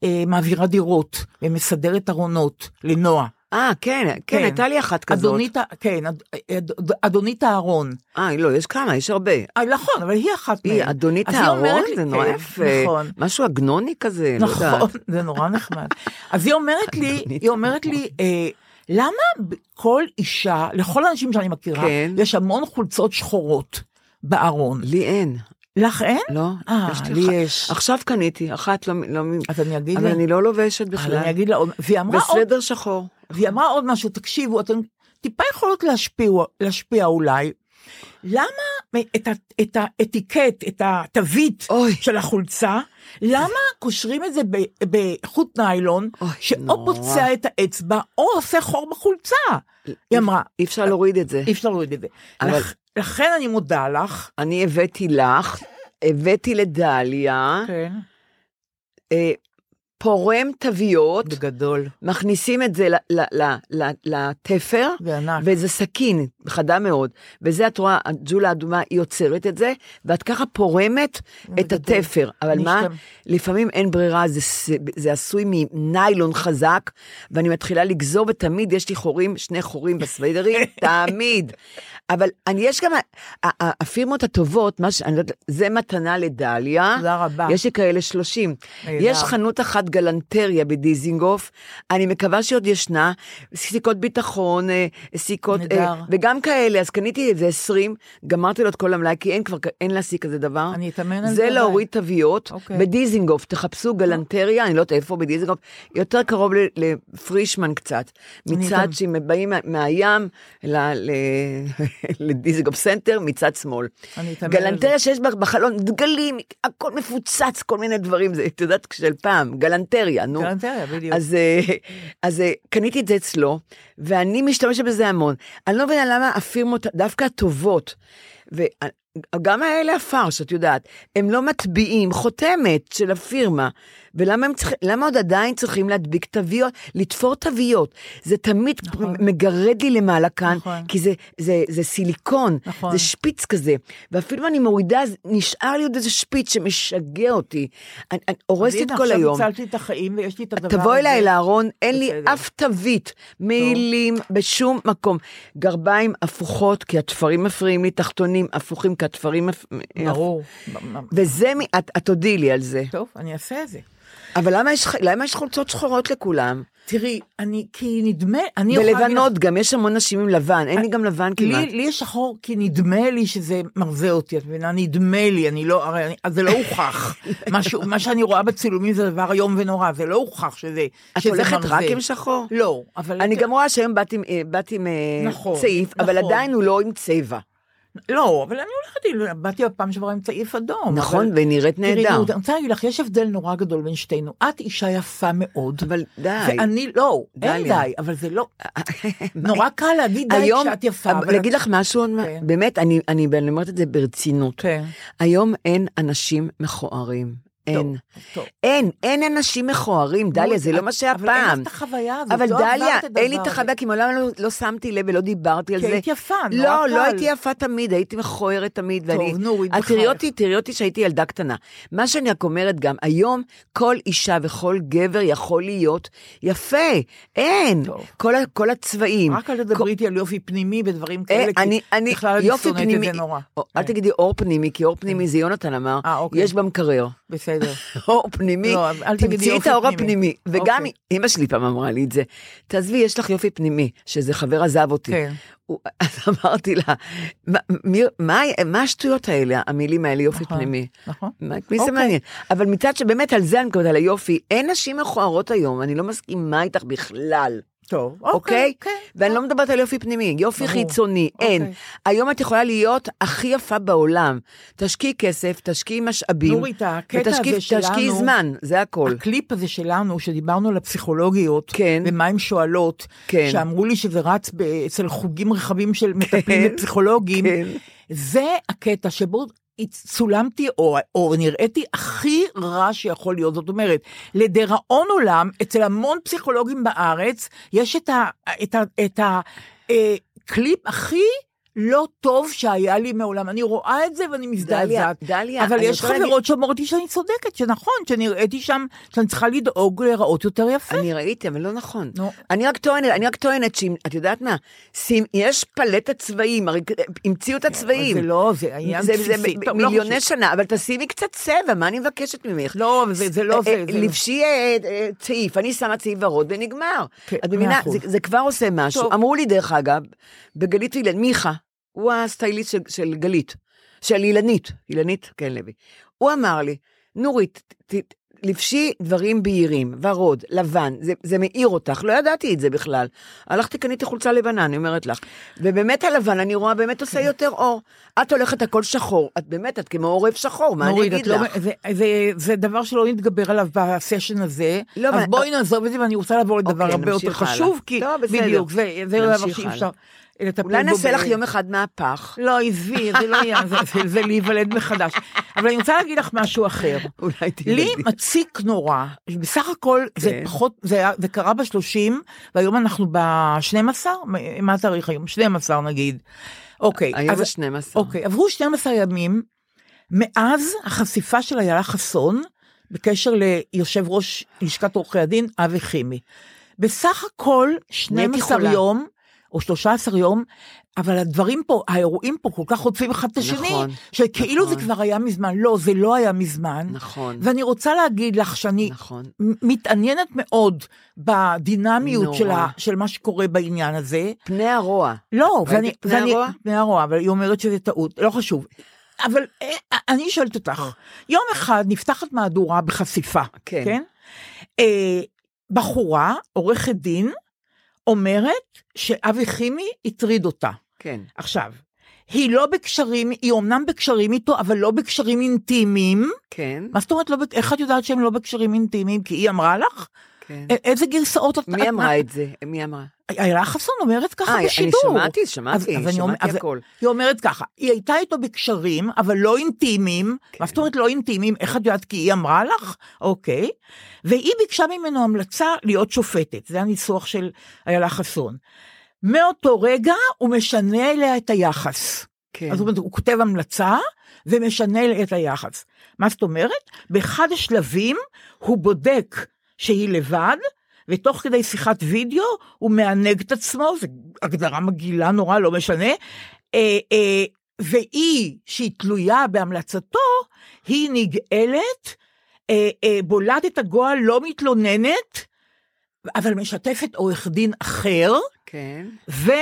[SPEAKER 3] שמעבירה דירות ומסדרת ארונות לנועה.
[SPEAKER 4] אה, כן, כן,
[SPEAKER 3] כן.
[SPEAKER 4] הייתה לי אחת כזאת.
[SPEAKER 3] אדונית, ה- כן, אד- אד- אדונית אהרון.
[SPEAKER 4] אה, לא, יש כמה, יש הרבה.
[SPEAKER 3] אה, נכון, אבל היא אחת מהן.
[SPEAKER 4] היא אדונית
[SPEAKER 3] אז היא אומרת
[SPEAKER 4] אהרון,
[SPEAKER 3] לי-
[SPEAKER 4] זה נורא
[SPEAKER 3] כן,
[SPEAKER 4] יפה.
[SPEAKER 3] נכון.
[SPEAKER 4] משהו עגנוני כזה, לא יודעת. לא
[SPEAKER 3] נכון, זה נורא נחמד. אז היא אומרת לי,
[SPEAKER 4] אדונית
[SPEAKER 3] היא אומרת לי, אה, למה ב- כל אישה, לכל האנשים שאני מכירה,
[SPEAKER 4] כן.
[SPEAKER 3] יש המון חולצות שחורות בארון.
[SPEAKER 4] לי אין.
[SPEAKER 3] לך אין?
[SPEAKER 4] לא,
[SPEAKER 3] אה,
[SPEAKER 4] יש
[SPEAKER 3] לי
[SPEAKER 4] אחת.
[SPEAKER 3] יש.
[SPEAKER 4] עכשיו קניתי, אחת לא... לא מ-
[SPEAKER 3] אז אני אגיד
[SPEAKER 4] אבל
[SPEAKER 3] לה,
[SPEAKER 4] אני לא לובשת
[SPEAKER 3] אבל אני
[SPEAKER 4] בכלל.
[SPEAKER 3] אגיד לה, עוד- והיא אמרה עוד
[SPEAKER 4] בסדר שחור.
[SPEAKER 3] והיא אמרה עוד משהו, תקשיבו, אתן טיפה יכולות להשפיע, להשפיע אולי. למה את, ה, את האתיקט, את התווית
[SPEAKER 4] אוי.
[SPEAKER 3] אוי. של החולצה, למה קושרים את זה ב, בחוט ניילון,
[SPEAKER 4] אוי,
[SPEAKER 3] שאו
[SPEAKER 4] נורא.
[SPEAKER 3] פוצע את האצבע, או עושה חור בחולצה? היא אמרה,
[SPEAKER 4] אי אפשר להוריד את זה.
[SPEAKER 3] אי אפשר להוריד את זה.
[SPEAKER 4] אבל-
[SPEAKER 3] לכ, לכן אני מודה לך.
[SPEAKER 4] אני הבאתי לך, הבאתי לדליה,
[SPEAKER 3] כן.
[SPEAKER 4] אה, פורם תוויות,
[SPEAKER 3] בגדול.
[SPEAKER 4] מכניסים את זה ל- ל- ל- ל- לתפר,
[SPEAKER 3] בענק.
[SPEAKER 4] וזה סכין חדה מאוד. וזה, את רואה, הג'ולה האדומה, היא עוצרת את זה, ואת ככה פורמת את
[SPEAKER 3] בגדול.
[SPEAKER 4] התפר. אבל
[SPEAKER 3] אני
[SPEAKER 4] מה,
[SPEAKER 3] אשתמש.
[SPEAKER 4] לפעמים אין ברירה, זה, ס- זה עשוי מניילון חזק, ואני מתחילה לגזור, ותמיד יש לי חורים, שני חורים בסווידרים, תמיד. אבל אני, יש גם, ה- ה- הפירמות הטובות, מה ש... אני לא יודעת, זה מתנה לדליה.
[SPEAKER 3] תודה רבה.
[SPEAKER 4] יש לי כאלה 30.
[SPEAKER 3] נהדר.
[SPEAKER 4] יש חנות אחת גלנטריה בדיזינגוף, אני מקווה שעוד ישנה, סיכות ביטחון, אה, סיכות, אה,
[SPEAKER 3] נהדר.
[SPEAKER 4] וגם כאלה, אז קניתי איזה 20, גמרתי לו את כל המלאי, כי אין כבר, אין להשיג כזה דבר.
[SPEAKER 3] אני אתאמן על זה
[SPEAKER 4] זה
[SPEAKER 3] עליי.
[SPEAKER 4] להוריד תוויות,
[SPEAKER 3] אוקיי.
[SPEAKER 4] בדיזינגוף, תחפשו גלנטריה, אני לא יודעת איפה בדיזינגוף, יותר קרוב ל- לפרישמן קצת,
[SPEAKER 3] אני
[SPEAKER 4] מצד
[SPEAKER 3] אתאמן.
[SPEAKER 4] שהם באים מה- מהים ל- ל- לדיזינגוף סנטר, מצד שמאל.
[SPEAKER 3] אני אתאמן על זה.
[SPEAKER 4] גלנטריה שיש בה בחלון דגלים, הכל מפוצץ, כל מיני דברים, זה, את יודעת, של פעם, גלנטריה, נו.
[SPEAKER 3] גלנטריה, בדיוק.
[SPEAKER 4] אז, אה, אז אה, קניתי את זה אצלו, ואני משתמשת בזה המון. אני לא מבינה למה הפירמות, דווקא הטובות, וגם האלה הפרש, את יודעת, הם לא מטביעים חותמת של הפירמה, ולמה הם צריכים, למה עוד עדיין צריכים להדביק תוויות, לתפור תוויות? זה תמיד
[SPEAKER 3] נכון.
[SPEAKER 4] מגרד לי למעלה כאן,
[SPEAKER 3] נכון.
[SPEAKER 4] כי זה, זה, זה סיליקון,
[SPEAKER 3] נכון.
[SPEAKER 4] זה שפיץ כזה, ואפילו אם אני מורידה, אז נשאר לי עוד איזה שפיץ שמשגע אותי. אני, אני הורסת את
[SPEAKER 3] והנה,
[SPEAKER 4] כל היום.
[SPEAKER 3] עכשיו הצלת לי את החיים ויש לי את הדבר הזה.
[SPEAKER 4] תבואי אליי לארון, אין לי
[SPEAKER 3] בסדר.
[SPEAKER 4] אף תווית, מעילים, בשום מקום. גרביים הפוכות, כי התפרים מפריעים לי, תחתונים הפוכים, כי התפרים... מפ- אה,
[SPEAKER 3] ברור.
[SPEAKER 4] וזה, מ- את- את תודי לי על זה.
[SPEAKER 3] טוב, אני אעשה את זה.
[SPEAKER 4] אבל למה יש, ח- למה יש חולצות שחורות לכולם?
[SPEAKER 3] תראי, אני, כי נדמה, אני יכולה להגיד לך- אה,
[SPEAKER 4] ולבנות גם, יש המון נשים עם לבן, אין לי גם לבן כמעט.
[SPEAKER 3] לי, לי יש שחור, כי נדמה לי שזה מרזה אותי, את מבינה? נדמה לי, אני לא, הרי אני, אז זה לא הוכח. מה, ש, מה שאני רואה בצילומים זה דבר איום ונורא, זה לא הוכח שזה,
[SPEAKER 4] את
[SPEAKER 3] שזה
[SPEAKER 4] הולכת
[SPEAKER 3] מרזה.
[SPEAKER 4] רק עם שחור?
[SPEAKER 3] לא, אבל...
[SPEAKER 4] אני
[SPEAKER 3] את-
[SPEAKER 4] גם רואה שהיום באת עם, אה, באת עם אה,
[SPEAKER 3] נכון,
[SPEAKER 4] צעיף, אבל
[SPEAKER 3] נכון.
[SPEAKER 4] עדיין הוא לא עם צבע.
[SPEAKER 3] לא, אבל אני הולכת, עם- באתי בפעם שעברה עם צעיף אדום.
[SPEAKER 4] נכון,
[SPEAKER 3] אבל-
[SPEAKER 4] ונראית
[SPEAKER 3] תראי,
[SPEAKER 4] נהדר.
[SPEAKER 3] נו, אני רוצה להגיד לך, יש הבדל נורא גדול בין שתינו. את אישה יפה מאוד.
[SPEAKER 4] אבל די.
[SPEAKER 3] ואני לא, אין
[SPEAKER 4] דליה.
[SPEAKER 3] די, אבל זה לא, נורא קל להגיד די
[SPEAKER 4] היום,
[SPEAKER 3] אה,
[SPEAKER 4] אה,
[SPEAKER 3] כשאת יפה. אבל
[SPEAKER 4] להגיד לך משהו,
[SPEAKER 3] כן.
[SPEAKER 4] באמת, אני, אני, אני אומרת את זה ברצינות.
[SPEAKER 3] כן.
[SPEAKER 4] היום אין אנשים מכוערים.
[SPEAKER 3] לא.
[SPEAKER 4] אין.
[SPEAKER 3] טוב.
[SPEAKER 4] אין, אין אנשים מכוערים, דליה, זה לא מה שהיה
[SPEAKER 3] אבל אין
[SPEAKER 4] פעם.
[SPEAKER 3] לך את החוויה הזאת,
[SPEAKER 4] אבל
[SPEAKER 3] לא
[SPEAKER 4] דליה,
[SPEAKER 3] עברת את
[SPEAKER 4] אין לי את
[SPEAKER 3] הדבר
[SPEAKER 4] החוויה, כי מעולם לא- לא שמתי לב ולא דיברתי על
[SPEAKER 3] כי
[SPEAKER 4] זה.
[SPEAKER 3] היית יפה, נורא
[SPEAKER 4] לא,
[SPEAKER 3] קל.
[SPEAKER 4] לא הייתי יפה תמיד, הייתי מכוערת תמיד.
[SPEAKER 3] טוב,
[SPEAKER 4] ואני-
[SPEAKER 3] נורית,
[SPEAKER 4] את תראי
[SPEAKER 3] בחייך.
[SPEAKER 4] אותי, תראי אותי שהייתי ילדה קטנה. מה שאני רק אומרת גם, היום כל אישה וכל גבר יכול להיות יפה. אין.
[SPEAKER 3] טוב.
[SPEAKER 4] כל ה- כל הצבעים.
[SPEAKER 3] רק אל תדברי איתי על יופי פנימי ודברים כאלה,
[SPEAKER 4] אה, אני,
[SPEAKER 3] כי
[SPEAKER 4] אני,
[SPEAKER 3] בכלל אני
[SPEAKER 4] יופי
[SPEAKER 3] שונאת את
[SPEAKER 4] פנימי,
[SPEAKER 3] זה נורא.
[SPEAKER 4] או, אל
[SPEAKER 3] כן.
[SPEAKER 4] תגידי אור פנימי, כי אור פנימי זה יונתן אמר,
[SPEAKER 3] אה, אוקיי.
[SPEAKER 4] יש במקרר.
[SPEAKER 3] בסדר.
[SPEAKER 4] אור פנימי,
[SPEAKER 3] לא, אל תגידי
[SPEAKER 4] תמצאי את
[SPEAKER 3] יופי
[SPEAKER 4] האור
[SPEAKER 3] פנימי.
[SPEAKER 4] הפנימי. וגם
[SPEAKER 3] אוקיי.
[SPEAKER 4] אמא שלי פעם אמרה לי את זה, תעזבי, יש לך יופי פנימי, שזה חבר עזב אותי.
[SPEAKER 3] כן.
[SPEAKER 4] הוא- אז אמרתי לה, "מה- מי- מה מה השטויות האלה, המילים האלה, יופי
[SPEAKER 3] נכון,
[SPEAKER 4] פנימי?
[SPEAKER 3] נכון.
[SPEAKER 4] מה- את מי זה
[SPEAKER 3] אוקיי.
[SPEAKER 4] מעניין? אבל מצד שבאמת על זה אני מקבלת, על היופי, אין נשים מכוערות היום, אני לא מסכימה איתך בכלל.
[SPEAKER 3] טוב,
[SPEAKER 4] אוקיי?
[SPEAKER 3] אוקיי,
[SPEAKER 4] Okay? Okay.
[SPEAKER 3] כן.
[SPEAKER 4] ואני לא מדברת על יופי פנימי, יופי
[SPEAKER 3] ברור.
[SPEAKER 4] חיצוני, okay. אין.
[SPEAKER 3] אוקיי.
[SPEAKER 4] היום את יכולה להיות הכי יפה בעולם. תשקיעי כסף, תשקיעי משאבים.
[SPEAKER 3] נורית, הקטע הזה
[SPEAKER 4] ותשקיעי-
[SPEAKER 3] שלנו-
[SPEAKER 4] תשקיעי זמן, זה הכל.
[SPEAKER 3] הקליפ הזה שלנו, שדיברנו על הפסיכולוגיות,
[SPEAKER 4] כן.
[SPEAKER 3] ומה הן שואלות,
[SPEAKER 4] כן.
[SPEAKER 3] שאמרו לי שזה רץ ב- אצל חוגים רחבים של מטפלים ופסיכולוגים,
[SPEAKER 4] כן.
[SPEAKER 3] זה הקטע שבו צולמתי או, או נראיתי הכי רע שיכול להיות. זאת אומרת, לדיראון עולם, אצל המון פסיכולוגים בארץ, יש את ה... את ה, את ה אה, קליפ הכי... לא טוב שהיה לי מעולם, אני רואה את זה ואני
[SPEAKER 4] דליה,
[SPEAKER 3] מזדעזעת.
[SPEAKER 4] דליה,
[SPEAKER 3] אבל
[SPEAKER 4] אני
[SPEAKER 3] יש
[SPEAKER 4] רוצה להגיד-
[SPEAKER 3] חברות שאומרות לי שאני צודקת, שנכון, שנראיתי שם, שאני צריכה לדאוג להיראות יותר יפה.
[SPEAKER 4] אני ראיתי, אבל לא נכון.
[SPEAKER 3] נו.
[SPEAKER 4] אני רק טוענת, אני רק טוענת שאם, את יודעת מה? שים, יש פלטת צבעים, הרי המציאו את הצבעים.
[SPEAKER 3] אבל זה לא, זה עניין
[SPEAKER 4] זה- זה
[SPEAKER 3] בסיסי.
[SPEAKER 4] מ-
[SPEAKER 3] טוב, לא
[SPEAKER 4] מיליוני
[SPEAKER 3] חשוב.
[SPEAKER 4] שנה, אבל תשימי קצת צבע, מה אני מבקשת ממך?
[SPEAKER 3] לא, אבל זה- זה לא זה.
[SPEAKER 4] אה, אה,
[SPEAKER 3] זה לא.
[SPEAKER 4] לבשי אה, אה, צעיף, אני שמה צעיף ורוד ונגמר.
[SPEAKER 3] כן,
[SPEAKER 4] את מבינה,
[SPEAKER 3] מאה אחוז.
[SPEAKER 4] זה- זה כבר עושה משהו.
[SPEAKER 3] טוב.
[SPEAKER 4] אמרו לי, דרך אגב, בגלית ואילן, מיכה, הוא הסטייליסט של- של גלית, של אילנית, אילנית, כן, לוי. הוא אמר לי, נורית, ת- ת- לבשי דברים בהירים, ורוד, לבן, זה, זה מאיר אותך, לא ידעתי את זה בכלל. הלכתי, קניתי חולצה לבנה, אני אומרת לך. ובאמת הלבן, אני רואה, באמת
[SPEAKER 3] כן.
[SPEAKER 4] עושה יותר אור. את הולכת הכל שחור, את באמת, את כמו עורב שחור, מה אני
[SPEAKER 3] נורית, את
[SPEAKER 4] אגיד
[SPEAKER 3] לא-
[SPEAKER 4] לך?
[SPEAKER 3] זה- זה- זה דבר שלא נתגבר עליו בסשן הזה,
[SPEAKER 4] לא,
[SPEAKER 3] אז
[SPEAKER 4] אבל-
[SPEAKER 3] בואי נעזוב את זה, ואני רוצה לעבור לדבר
[SPEAKER 4] אוקיי,
[SPEAKER 3] הרבה יותר
[SPEAKER 4] נמשיך הלאה.
[SPEAKER 3] חשוב, כי
[SPEAKER 4] לא, בסדר.
[SPEAKER 3] בדיוק, זה זה דבר
[SPEAKER 4] נמשיך
[SPEAKER 3] שאי
[SPEAKER 4] הלאה.
[SPEAKER 3] אפשר לטפל בו.
[SPEAKER 4] אולי נעשה
[SPEAKER 3] ב-
[SPEAKER 4] לך יום אחד מהפך.
[SPEAKER 3] לא, עזבי, זה לא יהיה, זה- זה- זה להיוולד מחדש. אבל אני רוצה להגיד לך משהו אחר.
[SPEAKER 4] אולי
[SPEAKER 3] לי מציק נורא, בסך הכל זה
[SPEAKER 4] כן.
[SPEAKER 3] פחות, זה, היה- זה קרה ב-30, והיום אנחנו ב-12, מה התאריך היום? 12 נגיד. אוקיי,
[SPEAKER 4] היום
[SPEAKER 3] אז-
[SPEAKER 4] ה-12.
[SPEAKER 3] אוקיי, עברו 12 ימים מאז החשיפה של איילה חסון בקשר ליושב ראש לשכת עורכי הדין אבי חימי. בסך הכל 12
[SPEAKER 4] חולה.
[SPEAKER 3] יום, או 13 יום, אבל הדברים פה, האירועים פה כל כך חוטפים אחד את השני,
[SPEAKER 4] נכון,
[SPEAKER 3] שכאילו
[SPEAKER 4] נכון.
[SPEAKER 3] זה כבר היה מזמן, לא, זה לא היה מזמן.
[SPEAKER 4] נכון,
[SPEAKER 3] ואני רוצה להגיד לך שאני
[SPEAKER 4] נכון.
[SPEAKER 3] מ- מתעניינת מאוד בדינמיות
[SPEAKER 4] נורא.
[SPEAKER 3] של, ה, של מה שקורה בעניין הזה.
[SPEAKER 4] פני הרוע.
[SPEAKER 3] לא,
[SPEAKER 4] ראית
[SPEAKER 3] ואני...
[SPEAKER 4] את פני
[SPEAKER 3] ואני-
[SPEAKER 4] הרוע?
[SPEAKER 3] פני הרוע, אבל היא אומרת שזה טעות, לא חשוב. אבל אה, אני שואלת אותך, יום אחד נפתחת מהדורה בחשיפה,
[SPEAKER 4] אה. כן.
[SPEAKER 3] כן? אה, בחורה, עורכת דין, אומרת שאבי חימי הטריד אותה.
[SPEAKER 4] כן.
[SPEAKER 3] עכשיו, היא לא בקשרים, היא אומנם בקשרים איתו, אבל לא בקשרים אינטימיים.
[SPEAKER 4] כן,
[SPEAKER 3] מה זאת אומרת, לא, בק- איך את יודעת שהם לא בקשרים אינטימיים? כי היא אמרה לך?
[SPEAKER 4] כן.
[SPEAKER 3] א- איזה גרסאות את...
[SPEAKER 4] מי אמרה את זה? מי אמרה?
[SPEAKER 3] זה? איילה חסון אומרת ככה
[SPEAKER 4] אה, אני
[SPEAKER 3] אה, בשידור.
[SPEAKER 4] שמעתי,
[SPEAKER 3] אז-
[SPEAKER 4] שמעתי,
[SPEAKER 3] אז אני אומר- אז-
[SPEAKER 4] שמעתי הכל.
[SPEAKER 3] היא אומרת ככה, היא הייתה איתו בקשרים, אבל לא אינטימיים.
[SPEAKER 4] כן.
[SPEAKER 3] מה זאת אומרת לא אינטימיים? איך את יודעת? כי היא אמרה לך? אוקיי. והיא ביקשה ממנו המלצה להיות שופטת. זה הניסוח של איילה חסון. מאותו רגע הוא משנה אליה את היחס.
[SPEAKER 4] כן.
[SPEAKER 3] אז זאת אומרת, הוא כותב המלצה ומשנה את היחס. מה זאת אומרת? באחד השלבים הוא בודק שהיא לבד, ותוך כדי שיחת וידאו הוא מענג את עצמו, זו הגדרה מגעילה נורא, לא משנה. אה, אה, והיא, שהיא תלויה בהמלצתו, היא נגאלת, אה, אה, בולעת את הגועל, לא מתלוננת, אבל משתפת עורך דין אחר,
[SPEAKER 4] כן.
[SPEAKER 3] ויש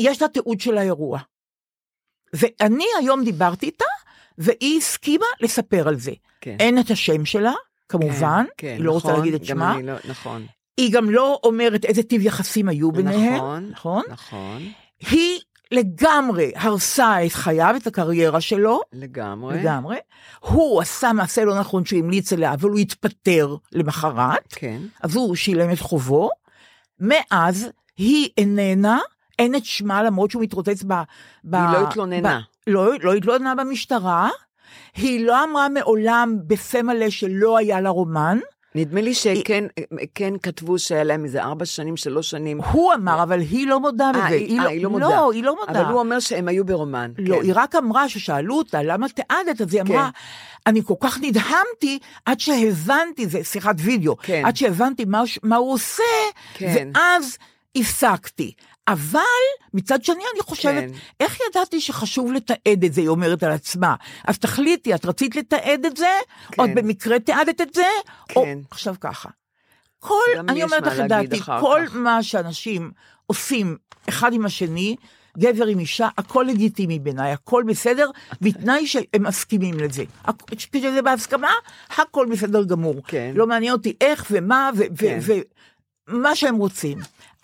[SPEAKER 3] לה תיעוד של האירוע. ואני היום דיברתי איתה, והיא הסכימה לספר על זה.
[SPEAKER 4] כן.
[SPEAKER 3] אין את השם שלה, אה, כמובן,
[SPEAKER 4] כן,
[SPEAKER 3] היא לא רוצה
[SPEAKER 4] נכון,
[SPEAKER 3] להגיד את
[SPEAKER 4] גם
[SPEAKER 3] שמה,
[SPEAKER 4] אני לא- נכון,
[SPEAKER 3] היא גם לא אומרת איזה טיב יחסים היו ביניהם,
[SPEAKER 4] נכון,
[SPEAKER 3] נכון?
[SPEAKER 4] נכון,
[SPEAKER 3] היא לגמרי הרסה את חייו, את הקריירה שלו,
[SPEAKER 4] לגמרי.
[SPEAKER 3] לגמרי. הוא עשה מעשה לא נכון שהוא המליץ עליה, אבל הוא התפטר למחרת.
[SPEAKER 4] כן,
[SPEAKER 3] אז הוא שילם את חובו, מאז היא איננה, אין את שמה למרות שהוא מתרוצץ ב... ב
[SPEAKER 4] היא לא התלוננה.
[SPEAKER 3] ב, לא, לא התלוננה במשטרה, היא לא אמרה מעולם בפה מלא שלא היה לה רומן,
[SPEAKER 4] נדמה לי שכן כן כתבו שהיה להם איזה ארבע שנים, שלוש שנים.
[SPEAKER 3] הוא אמר, אבל היא לא מודה בזה.
[SPEAKER 4] אה, היא, אה, היא לא מודה.
[SPEAKER 3] לא, היא לא מודה.
[SPEAKER 4] אבל הוא אומר שהם היו ברומן.
[SPEAKER 3] לא,
[SPEAKER 4] כן.
[SPEAKER 3] היא רק אמרה ששאלו אותה, למה תיעדת? אז היא אמרה, אני כל כך נדהמתי עד שהבנתי, זה שיחת וידאו,
[SPEAKER 4] כן.
[SPEAKER 3] עד שהבנתי מה, ש- מה הוא עושה,
[SPEAKER 4] כן.
[SPEAKER 3] ואז הפסקתי. אבל מצד שני אני חושבת,
[SPEAKER 4] כן.
[SPEAKER 3] איך ידעתי שחשוב לתעד את זה, היא אומרת על עצמה. אז תחליטי, את רצית לתעד את זה,
[SPEAKER 4] כן.
[SPEAKER 3] עוד במקרה תיעדת את זה, או
[SPEAKER 4] כן.
[SPEAKER 3] עכשיו ככה. כל,
[SPEAKER 4] גם לי
[SPEAKER 3] אני
[SPEAKER 4] יש
[SPEAKER 3] אומרת
[SPEAKER 4] מה
[SPEAKER 3] לך את
[SPEAKER 4] להגיד
[SPEAKER 3] דעתי,
[SPEAKER 4] אחר
[SPEAKER 3] כל
[SPEAKER 4] כך.
[SPEAKER 3] מה שאנשים עושים אחד עם השני, גבר עם אישה, הכל לגיטימי בעיניי, הכל בסדר, בתנאי שהם מסכימים לזה. הכ- כשזה בהסכמה, הכל בסדר גמור.
[SPEAKER 4] כן.
[SPEAKER 3] לא מעניין אותי איך ומה ו-
[SPEAKER 4] כן.
[SPEAKER 3] ו- ומה שהם רוצים.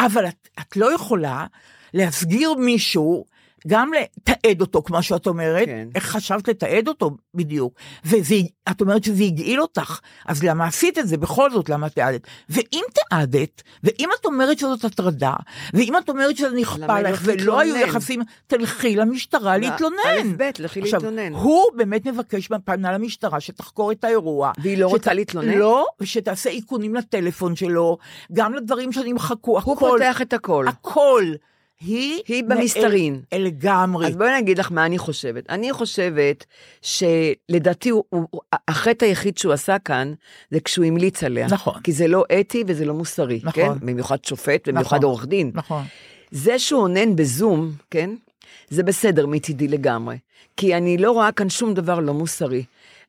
[SPEAKER 3] אבל את, את לא יכולה להסגיר מישהו, גם לתעד אותו, כמו שאת אומרת,
[SPEAKER 4] כן.
[SPEAKER 3] איך חשבת לתעד אותו בדיוק? ואת אומרת שזה הגעיל אותך, אז למה עשית את זה? בכל זאת, למה תיעדת? ואם תיעדת, ואם את אומרת שזאת הטרדה, ואם את אומרת שזה נכפה
[SPEAKER 4] למה לא
[SPEAKER 3] לך ולא היו
[SPEAKER 4] תתלונן?
[SPEAKER 3] יחסים, תלכי למשטרה
[SPEAKER 4] לא,
[SPEAKER 3] להתלונן.
[SPEAKER 4] א', ב', לכי
[SPEAKER 3] עכשיו,
[SPEAKER 4] להתלונן.
[SPEAKER 3] הוא באמת מבקש, פנה למשטרה שתחקור את האירוע.
[SPEAKER 4] והיא לא
[SPEAKER 3] שת-
[SPEAKER 4] רוצה להתלונן?
[SPEAKER 3] לא, ושתעשה איכונים לטלפון שלו, גם לדברים שנמחקו, הכל.
[SPEAKER 4] הוא פותח את הכל.
[SPEAKER 3] אה, הכל. היא...
[SPEAKER 4] היא במסתרין.
[SPEAKER 3] נעל- לגמרי.
[SPEAKER 4] אז בואי אני אגיד לך מה אני חושבת. אני חושבת שלדעתי הוא- הוא- הוא- החטא היחיד שהוא עשה כאן, זה כשהוא המליץ עליה.
[SPEAKER 3] נכון.
[SPEAKER 4] כי זה לא אתי וזה לא מוסרי.
[SPEAKER 3] נכון.
[SPEAKER 4] כן? במיוחד שופט, במיוחד
[SPEAKER 3] נכון.
[SPEAKER 4] עורך דין.
[SPEAKER 3] נכון.
[SPEAKER 4] זה שהוא אונן בזום, כן? זה בסדר מצידי לגמרי. כי אני לא רואה כאן שום דבר לא מוסרי.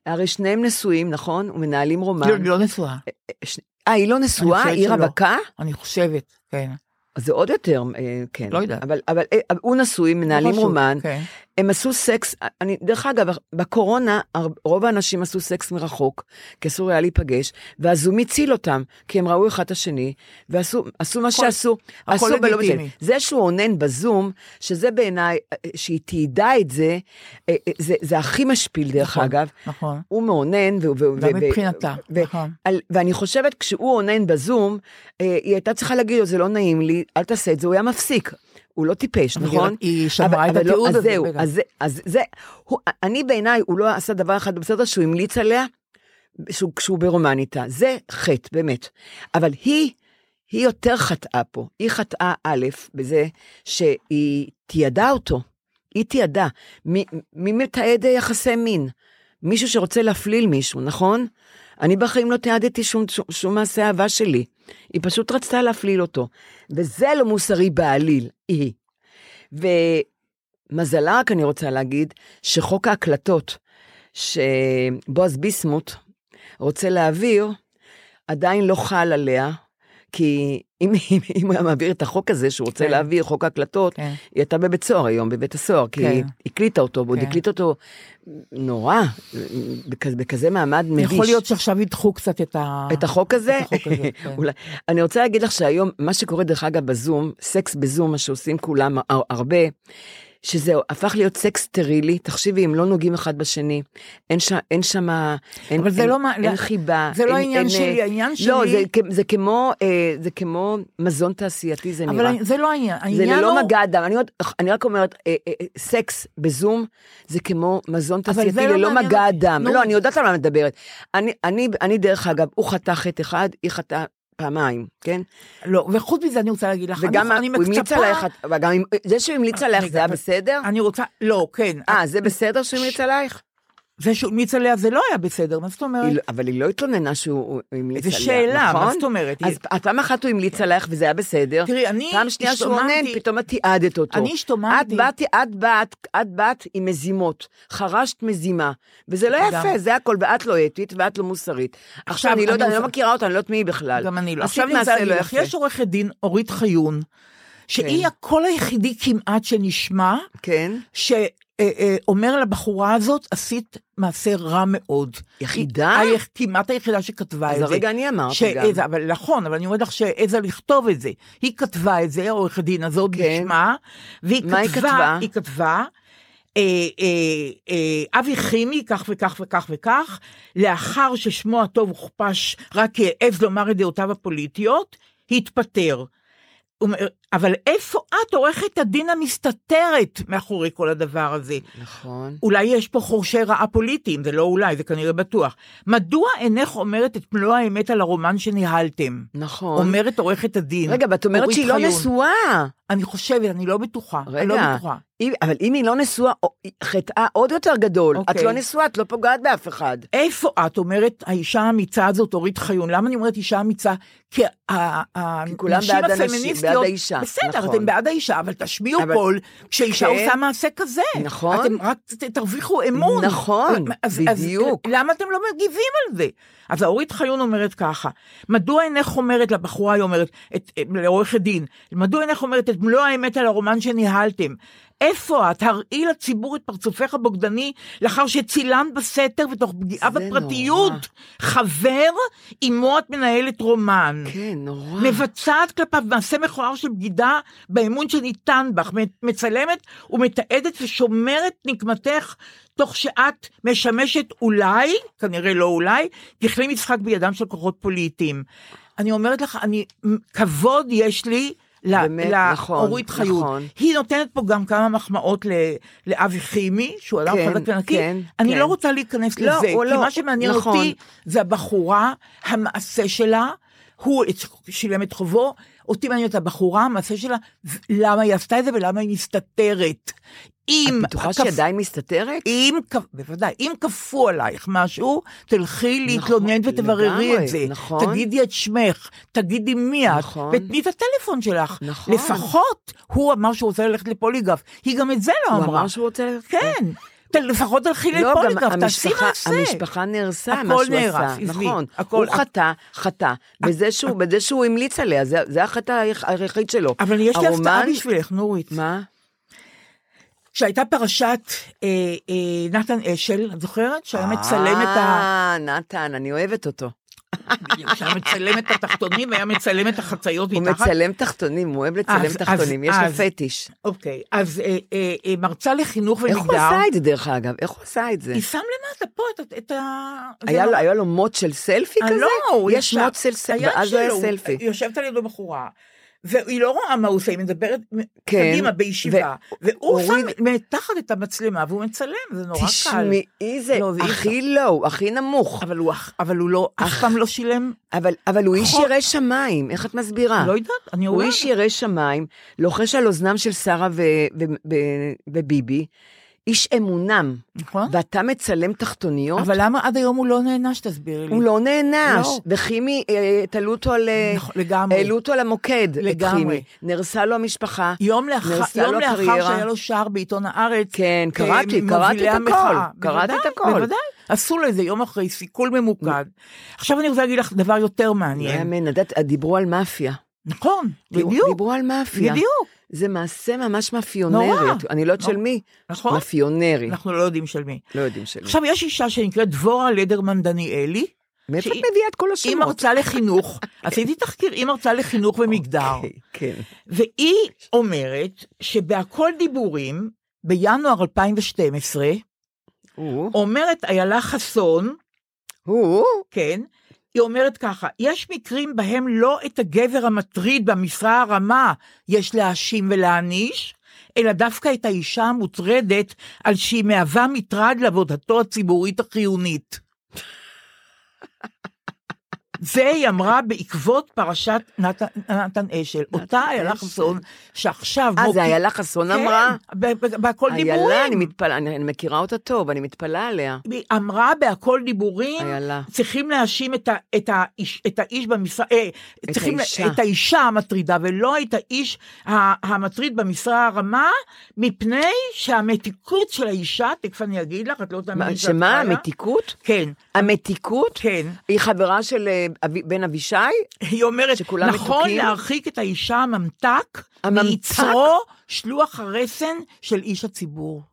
[SPEAKER 4] הרי שניהם נשואים, נכון? ומנהלים רומן.
[SPEAKER 3] לא, אני לא נשואה.
[SPEAKER 4] ש- אה, היא לא נשואה?
[SPEAKER 3] חושבת
[SPEAKER 4] היא
[SPEAKER 3] שלא.
[SPEAKER 4] רווקה?
[SPEAKER 3] אני חושבת, כן.
[SPEAKER 4] אז זה עוד יותר, אה, כן.
[SPEAKER 3] לא יודעת.
[SPEAKER 4] אבל, אבל אה, הוא נשוי, מנהלים
[SPEAKER 3] חשוב,
[SPEAKER 4] רומן.
[SPEAKER 3] כן.
[SPEAKER 4] הם עשו סקס, אה, אני, דרך אגב, בקורונה הר- רוב האנשים עשו סקס מרחוק, כי אסור היה להיפגש, והזום הציל אותם, כי הם ראו אחד את השני, ועשו עשו מה שעשו, עשו בלא
[SPEAKER 3] לגיטימי.
[SPEAKER 4] בסדר. זה שהוא אונן בזום, שזה בעיניי, אה, שהיא תיעדה את זה, אה, אה, זה, זה הכי משפיל דרך
[SPEAKER 3] נכון,
[SPEAKER 4] אגב.
[SPEAKER 3] נכון.
[SPEAKER 4] הוא מאונן, ו- ו-
[SPEAKER 3] גם
[SPEAKER 4] ו-
[SPEAKER 3] מבחינתה,
[SPEAKER 4] ו-
[SPEAKER 3] נכון.
[SPEAKER 4] על, ואני חושבת, כשהוא אונן בזום, אה, היא הייתה צריכה להגיד לו, זה לא נעים לי, אל תעשה את זה, הוא היה מפסיק. הוא לא טיפש,
[SPEAKER 3] אבל
[SPEAKER 4] נכון?
[SPEAKER 3] היא שמעה
[SPEAKER 4] אבל-
[SPEAKER 3] את
[SPEAKER 4] אבל לא,
[SPEAKER 3] התיעוד
[SPEAKER 4] אז
[SPEAKER 3] הזה
[SPEAKER 4] זהו,
[SPEAKER 3] בגלל.
[SPEAKER 4] אז זה, אז זה, הוא, אני בעיניי, הוא לא עשה דבר אחד בסדר שהוא המליץ עליה, שהוא, כשהוא ברומן איתה. זה חטא, באמת. אבל היא, היא יותר חטאה פה. היא חטאה א', בזה שהיא תיעדה אותו. היא תיעדה. מי, מי מתעד יחסי מין? מישהו שרוצה להפליל מישהו, נכון? אני בחיים לא תיעדתי שום, שום, שום מעשה אהבה שלי. היא פשוט רצתה להפליל אותו. וזה לא מוסרי בעליל, היא. ומזלה רק אני רוצה להגיד, שחוק ההקלטות שבועז ביסמוט רוצה להעביר, עדיין לא חל עליה, כי אם, אם, אם הוא היה מעביר את החוק הזה שהוא רוצה
[SPEAKER 3] כן.
[SPEAKER 4] כן. להעביר, חוק ההקלטות,
[SPEAKER 3] כן.
[SPEAKER 4] כן. היא הייתה בבית סוהר היום, בבית הסוהר, כי
[SPEAKER 3] כן.
[SPEAKER 4] היא הקליטה אותו, ועוד
[SPEAKER 3] כן.
[SPEAKER 4] הקליטה אותו נורא, בכ- בכזה מעמד מביש.
[SPEAKER 3] יכול להיות שעכשיו ידחו קצת את ה...
[SPEAKER 4] את החוק הזה?
[SPEAKER 3] את החוק הזה, כן.
[SPEAKER 4] אולי. אני רוצה להגיד לך שהיום, מה שקורה דרך אגב בזום, סקס בזום, מה שעושים כולם הר- הרבה, שזה הפך להיות סקס סטרילי, תחשיבי, הם לא נוגעים אחד בשני, אין שם, אין שם, אין,
[SPEAKER 3] אבל זה
[SPEAKER 4] אין,
[SPEAKER 3] לא מה-
[SPEAKER 4] אין
[SPEAKER 3] לא-
[SPEAKER 4] חיבה.
[SPEAKER 3] זה לא
[SPEAKER 4] אין-
[SPEAKER 3] העניין
[SPEAKER 4] אין,
[SPEAKER 3] שלי,
[SPEAKER 4] אה,
[SPEAKER 3] העניין
[SPEAKER 4] לא,
[SPEAKER 3] שלי-
[SPEAKER 4] זה, כ- זה כמו, אה, זה כמו מזון תעשייתי, זה
[SPEAKER 3] אבל
[SPEAKER 4] נראה.
[SPEAKER 3] אני- זה לא העניין.
[SPEAKER 4] זה
[SPEAKER 3] העניין הוא...
[SPEAKER 4] ללא מגע אדם, אני, עוד- אני רק אומרת, אה, אה, אה, סקס בזום זה כמו מזון
[SPEAKER 3] אבל זה
[SPEAKER 4] תעשייתי
[SPEAKER 3] לא
[SPEAKER 4] ללא
[SPEAKER 3] מעניין
[SPEAKER 4] מגע
[SPEAKER 3] אותי.
[SPEAKER 4] אדם.
[SPEAKER 3] נו.
[SPEAKER 4] לא, אני יודעת על מה אני מדברת. אני, אני, אני דרך אגב, הוא חטא חטא אחד, היא חטאה פעמיים, כן?
[SPEAKER 3] לא, וחוץ מזה אני רוצה להגיד לך,
[SPEAKER 4] וגם
[SPEAKER 3] נכון, אני,
[SPEAKER 4] ה-
[SPEAKER 3] אני
[SPEAKER 4] הוא המליץ
[SPEAKER 3] מצפה- אה,
[SPEAKER 4] עלייך, אבל גם אם- זה שהוא המליץ עלייך
[SPEAKER 3] רגע,
[SPEAKER 4] זה היה
[SPEAKER 3] אבל-
[SPEAKER 4] בסדר?
[SPEAKER 3] אני רוצה, לא, כן.
[SPEAKER 4] אה, זה בסדר שהוא המליץ עלייך?
[SPEAKER 3] זה שהוא המליץ עליה זה לא היה בסדר, מה זאת אומרת?
[SPEAKER 4] היא לא- אבל היא לא התלוננה שהוא הוא המליץ
[SPEAKER 3] זו
[SPEAKER 4] עליה, נכון?
[SPEAKER 3] שאלה, מה זאת אומרת? כן.
[SPEAKER 4] אז פעם אחת הוא המליץ עלייך וזה היה בסדר.
[SPEAKER 3] תראי, אני
[SPEAKER 4] פעם שנייה שהוא עונן,
[SPEAKER 3] השתוממתי-
[SPEAKER 4] פתאום את תיעדת אותו.
[SPEAKER 3] אני השתוממתי.
[SPEAKER 4] את באת, את באת, את באת עם מזימות. חרשת מזימה. וזה לא
[SPEAKER 3] גם.
[SPEAKER 4] יפה, זה הכל, ואת לא אתית ואת לא מוסרית. עכשיו, אני
[SPEAKER 3] אני
[SPEAKER 4] לא יודעת, אני
[SPEAKER 3] רוצה-
[SPEAKER 4] לא מכירה אותה, אני לא יודעת מי היא בכלל.
[SPEAKER 3] גם אני לא.
[SPEAKER 4] עשית
[SPEAKER 3] עכשיו אני רוצה
[SPEAKER 4] מעשה
[SPEAKER 3] להגיד
[SPEAKER 4] לא
[SPEAKER 3] לך,
[SPEAKER 4] יפה.
[SPEAKER 3] יש עורכת דין, אורית חיון, שהיא
[SPEAKER 4] כן.
[SPEAKER 3] הקול היחידי כמעט שנשמע,
[SPEAKER 4] כן.
[SPEAKER 3] שאומר לבחורה הזאת, עשית מעשה רע מאוד.
[SPEAKER 4] יחידה?
[SPEAKER 3] היא היח- כמעט היחידה שכתבה את
[SPEAKER 4] אז
[SPEAKER 3] זה.
[SPEAKER 4] הרגע אני אמרתי גם.
[SPEAKER 3] שעזה, אבל נכון, אבל אני אומרת לך שעזה לכתוב את זה. היא כתבה את זה, העורכת הדין הזאת
[SPEAKER 4] כן.
[SPEAKER 3] בשמה, והיא
[SPEAKER 4] מה היא כתבה?
[SPEAKER 3] היא כתבה, אה, אה, אה, אבי חימי, כך וכך וכך וכך, לאחר ששמו הטוב הוכפש רק כי העז לומר את דעותיו הפוליטיות, התפטר. הוא אומר, אבל איפה את עורכת הדין המסתתרת מאחורי כל הדבר הזה?
[SPEAKER 4] נכון.
[SPEAKER 3] אולי יש פה חורשי רעה פוליטיים, זה לא אולי, זה כנראה בטוח. מדוע אינך אומרת את מלוא האמת על הרומן שניהלתם?
[SPEAKER 4] נכון.
[SPEAKER 3] אומרת עורכת הדין.
[SPEAKER 4] רגע, ואת אומרת
[SPEAKER 3] אורית
[SPEAKER 4] שהיא לא
[SPEAKER 3] חיון.
[SPEAKER 4] נשואה.
[SPEAKER 3] אני חושבת, אני לא בטוחה. אני לא
[SPEAKER 4] רגע.
[SPEAKER 3] בטוחה.
[SPEAKER 4] אם- אבל אם היא לא נשואה, או- חטאה עוד יותר גדול. את
[SPEAKER 3] אוקיי.
[SPEAKER 4] לא נשואה, את לא פוגעת באף אחד.
[SPEAKER 3] איפה את אומרת, האישה האמיצה הזאת, אורית חיון? למה אני אומרת אישה אמיצה? כי ה- ה-
[SPEAKER 4] כי כולם
[SPEAKER 3] הנשים
[SPEAKER 4] בעד הנשים,
[SPEAKER 3] הפמיניסטיות...
[SPEAKER 4] בעד האישה,
[SPEAKER 3] בסדר,
[SPEAKER 4] נכון.
[SPEAKER 3] אתם בעד האישה, אבל תשמיעו
[SPEAKER 4] אבל-
[SPEAKER 3] קול כשאישה
[SPEAKER 4] כן.
[SPEAKER 3] עושה מעשה כזה.
[SPEAKER 4] נכון.
[SPEAKER 3] אתם רק ת- תרוויחו אמון.
[SPEAKER 4] נכון,
[SPEAKER 3] אז,
[SPEAKER 4] בדיוק.
[SPEAKER 3] אז למה אתם לא מגיבים על זה? אז אורית חיון אומרת ככה, מדוע אינך אומרת לבחורה, היא אומרת, את- אה, לעורכת דין, מדוע אינך אומרת את מלוא האמת על הרומן שניהלתם? איפה את? הראי לציבור את פרצופך הבוגדני לאחר שצילמת בסתר ותוך פגיעה
[SPEAKER 4] זה
[SPEAKER 3] בפרטיות.
[SPEAKER 4] נורא.
[SPEAKER 3] חבר, עמו את מנהלת רומן.
[SPEAKER 4] כן, נורא.
[SPEAKER 3] מבצעת כלפיו מעשה מכוער של בגידה באמון שניתן בך, מ- מצלמת ומתעדת ושומרת נקמתך תוך שאת משמשת אולי, כנראה לא אולי, ככלי משחק בידם של כוחות פוליטיים. אני אומרת לך, אני, מ- כבוד יש לי ל-
[SPEAKER 4] באמת, נכון,
[SPEAKER 3] לאורית חיון.
[SPEAKER 4] נכון.
[SPEAKER 3] היא נותנת פה גם כמה מחמאות ל- לאבי חימי, שהוא אדם
[SPEAKER 4] כן,
[SPEAKER 3] חזק ונקי.
[SPEAKER 4] כן,
[SPEAKER 3] אני
[SPEAKER 4] כן.
[SPEAKER 3] לא רוצה להיכנס
[SPEAKER 4] לא,
[SPEAKER 3] לזה,
[SPEAKER 4] הוא
[SPEAKER 3] כי
[SPEAKER 4] לא,
[SPEAKER 3] מה שמעניין
[SPEAKER 4] נכון.
[SPEAKER 3] אותי זה הבחורה, המעשה שלה, הוא את- שילם את חובו, אותי מעניין את הבחורה, המעשה שלה, ו- למה היא עשתה את זה ולמה היא מסתתרת. אם...
[SPEAKER 4] את בטוחה
[SPEAKER 3] הכפ-
[SPEAKER 4] שהיא עדיין מסתתרת?
[SPEAKER 3] אם, כ- בוודאי, אם כפו עלייך משהו, תלכי להתלונן ותבררי
[SPEAKER 4] לגמרי,
[SPEAKER 3] את זה.
[SPEAKER 4] נכון.
[SPEAKER 3] תגידי את שמך, תגידי מי את,
[SPEAKER 4] נכון.
[SPEAKER 3] ותני את הטלפון שלך.
[SPEAKER 4] נכון.
[SPEAKER 3] לפחות הוא אמר שהוא רוצה ללכת לפוליגרף, היא גם את זה לא
[SPEAKER 4] הוא
[SPEAKER 3] אמרה.
[SPEAKER 4] אמר שהוא רוצה...
[SPEAKER 3] כן, ת- לפחות תלכי
[SPEAKER 4] לא, גם
[SPEAKER 3] לפוליגרף, תעשי
[SPEAKER 4] המשפחה-
[SPEAKER 3] מעשה.
[SPEAKER 4] המשפחה נהרסה, מה
[SPEAKER 3] הכל
[SPEAKER 4] שהוא
[SPEAKER 3] נהרס,
[SPEAKER 4] עשה.
[SPEAKER 3] עזבי,
[SPEAKER 4] נכון.
[SPEAKER 3] הכל-
[SPEAKER 4] הוא חטא, חטא. בזה שהוא- בזה שהוא המליץ עליה, זה- זה החטא היח- היחיד שלו.
[SPEAKER 3] אבל יש לי הפתעה
[SPEAKER 4] הרומן-
[SPEAKER 3] בשבילך, נורית.
[SPEAKER 4] מה?
[SPEAKER 3] כשהייתה פרשת אה, אה, נתן אשל, את זוכרת? שהיה מצלם את ה...
[SPEAKER 4] אה, נתן, אני אוהבת אותו.
[SPEAKER 3] בדיוק, שהיה מצלם את התחתונים והיה מצלם את החציות
[SPEAKER 4] אה. הוא
[SPEAKER 3] מתחת.
[SPEAKER 4] מצלם תחתונים, הוא אוהב לצלם
[SPEAKER 3] אז-
[SPEAKER 4] תחתונים,
[SPEAKER 3] אז-
[SPEAKER 4] יש לו
[SPEAKER 3] אז-
[SPEAKER 4] פטיש.
[SPEAKER 3] אוקיי, אז אה, אה, אה, מרצה לחינוך ומגדר.
[SPEAKER 4] איך הוא עשה את זה, דרך אגב? איך הוא עשה את זה?
[SPEAKER 3] היא שם למטה פה את, את ה... זה
[SPEAKER 4] היה
[SPEAKER 3] נורא.
[SPEAKER 4] לו- היה לו מוט של סלפי
[SPEAKER 3] אה,
[SPEAKER 4] כזה?
[SPEAKER 3] לא, הוא
[SPEAKER 4] יש
[SPEAKER 3] ישב.
[SPEAKER 4] מוט של סלפי,
[SPEAKER 3] היד
[SPEAKER 4] אז לא היה
[SPEAKER 3] שלו, אה,
[SPEAKER 4] סלפי.
[SPEAKER 3] היא יושבת על ידו בחורה, והיא לא רואה מה הוא עושה, היא מדברת
[SPEAKER 4] כן,
[SPEAKER 3] קדימה בישיבה, והוא
[SPEAKER 4] הוריד-
[SPEAKER 3] שם מתחת את המצלמה והוא מצלם, זה נורא קל.
[SPEAKER 4] תשמעי זה,
[SPEAKER 3] לא, זה אי
[SPEAKER 4] הכי לואו, הכי נמוך.
[SPEAKER 3] אבל הוא, אח- אבל הוא לא, אף פעם לא שילם,
[SPEAKER 4] אבל, אבל הוא איש
[SPEAKER 3] חוק.
[SPEAKER 4] ירא שמיים, איך את מסבירה?
[SPEAKER 3] נכון. לא יודעת, אני
[SPEAKER 4] אה. הוא
[SPEAKER 3] רואה.
[SPEAKER 4] איש ירא שמיים, לוחש על אוזנם של שרה ו- ו- ו- וביבי, איש אמונם,
[SPEAKER 3] נכון?
[SPEAKER 4] ואתה מצלם תחתוניות?
[SPEAKER 3] אבל למה עד היום הוא לא נענש, תסבירי לי.
[SPEAKER 4] הוא לא נענש,
[SPEAKER 3] לא.
[SPEAKER 4] וחימי, אה, תלו אותו על... אה,
[SPEAKER 3] נכון, לגמרי.
[SPEAKER 4] העלו אותו למוקד, את
[SPEAKER 3] לגמרי.
[SPEAKER 4] חימי. נרסה לו המשפחה.
[SPEAKER 3] יום לאחר,
[SPEAKER 4] נהרסה
[SPEAKER 3] יום
[SPEAKER 4] לו
[SPEAKER 3] לאחר
[SPEAKER 4] הקריירה.
[SPEAKER 3] שהיה לו שער בעיתון הארץ.
[SPEAKER 4] כן,
[SPEAKER 3] אה,
[SPEAKER 4] קראתי,
[SPEAKER 3] מובילי
[SPEAKER 4] קראתי את הכל.
[SPEAKER 3] המחאה.
[SPEAKER 4] קראתי את
[SPEAKER 3] בוודאי,
[SPEAKER 4] הכל.
[SPEAKER 3] בוודאי, עשו לו איזה יום אחרי סיכול ממוקד. עכשיו אני רוצה להגיד לך דבר יותר
[SPEAKER 4] לא
[SPEAKER 3] מעניין.
[SPEAKER 4] יאמן, את יודעת, דיברו על מאפיה.
[SPEAKER 3] נכון, בדיוק,
[SPEAKER 4] דיברו על מאפיה.
[SPEAKER 3] בדיוק,
[SPEAKER 4] זה מעשה ממש מאפיונרי.
[SPEAKER 3] נורא.
[SPEAKER 4] את- אני לא יודעת של
[SPEAKER 3] נורא.
[SPEAKER 4] מי.
[SPEAKER 3] נכון.
[SPEAKER 4] מאפיונרי.
[SPEAKER 3] אנחנו לא יודעים של מי.
[SPEAKER 4] לא יודעים של מי.
[SPEAKER 3] עכשיו יש אישה שנקראת דבורה לדרמן דניאלי,
[SPEAKER 4] מאיפה את
[SPEAKER 3] שהיא-
[SPEAKER 4] מביאה את כל
[SPEAKER 3] היא
[SPEAKER 4] השמות?
[SPEAKER 3] מרצה לחינוך, עשיתי תחקיר, היא מרצה לחינוך ומגדר.
[SPEAKER 4] אוקיי, כן.
[SPEAKER 3] והיא אומרת שבהכל דיבורים, בינואר 2012,
[SPEAKER 4] הוא,
[SPEAKER 3] אומרת איילה חסון,
[SPEAKER 4] הוא,
[SPEAKER 3] כן, היא אומרת ככה, יש מקרים בהם לא את הגבר המטריד במשרה הרמה יש להאשים ולהעניש, אלא דווקא את האישה המוטרדת על שהיא מהווה מטרד לעבודתו הציבורית החיונית. זה היא אמרה בעקבות פרשת נתן, נתן אשל, אותה איילה
[SPEAKER 4] אשל.
[SPEAKER 3] חסון שעכשיו...
[SPEAKER 4] אה, זה
[SPEAKER 3] מוקי-
[SPEAKER 4] איילה חסון אמרה?
[SPEAKER 3] כן, ב- ב- בהכל דיבורים.
[SPEAKER 4] איילה, אני מתפלאה, אני אני מכירה אותה טוב, אני מתפלאה עליה.
[SPEAKER 3] היא אמרה בהכל דיבורים,
[SPEAKER 4] איילה.
[SPEAKER 3] צריכים להאשים את, ה, את, האיש, את האיש במשרה, אה,
[SPEAKER 4] את
[SPEAKER 3] צריכים
[SPEAKER 4] האישה.
[SPEAKER 3] לה, את האישה המטרידה, ולא את האיש ה- המטריד במשרה הרמה, מפני שהמתיקות של האישה, תכף אני אגיד לך, את לא
[SPEAKER 4] מה,
[SPEAKER 3] תאמיני שאת
[SPEAKER 4] שמה,
[SPEAKER 3] חיה.
[SPEAKER 4] המתיקות?
[SPEAKER 3] כן,
[SPEAKER 4] המתיקות?
[SPEAKER 3] כן.
[SPEAKER 4] היא חברה של אה, אבי- בן אבישי?
[SPEAKER 3] היא אומרת,
[SPEAKER 4] שכולם
[SPEAKER 3] נכון
[SPEAKER 4] מתוקים?
[SPEAKER 3] להרחיק את האישה הממתק,
[SPEAKER 4] הממתק?
[SPEAKER 3] מיצרו שלוח הרסן של איש הציבור.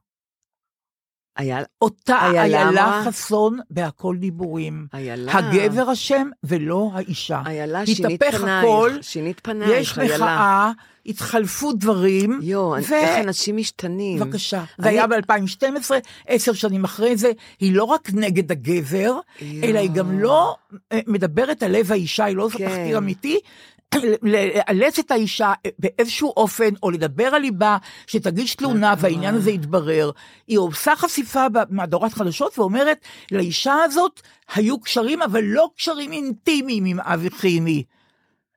[SPEAKER 4] איילה.
[SPEAKER 3] אותה
[SPEAKER 4] איילה
[SPEAKER 3] איילה
[SPEAKER 4] אמרה?
[SPEAKER 3] חסון בהכל דיבורים.
[SPEAKER 4] איילה.
[SPEAKER 3] הגבר אשם ולא האישה.
[SPEAKER 4] איילה, שינית
[SPEAKER 3] התהפך הכל,
[SPEAKER 4] פנייך. שינית
[SPEAKER 3] יש
[SPEAKER 4] פנייך, איילה.
[SPEAKER 3] מחאה, התחלפו דברים.
[SPEAKER 4] יואו, אני-
[SPEAKER 3] ו-
[SPEAKER 4] איך אנשים משתנים.
[SPEAKER 3] בבקשה. זה
[SPEAKER 4] אני-
[SPEAKER 3] היה ב-2012, עשר שנים אחרי זה, היא לא רק נגד הגבר, אלא היא גם לא אה, מדברת על לב האישה, היא לא עושה
[SPEAKER 4] כן.
[SPEAKER 3] תחקיר אמיתי, לאלץ את האישה אה, באיזשהו אופן, או לדבר על ליבה, שתגיש תלונה
[SPEAKER 4] נכון.
[SPEAKER 3] והעניין הזה יתברר. היא עושה חשיפה במהדורת חדשות ואומרת, לאישה הזאת היו קשרים, אבל לא קשרים אינטימיים עם אבי חימי.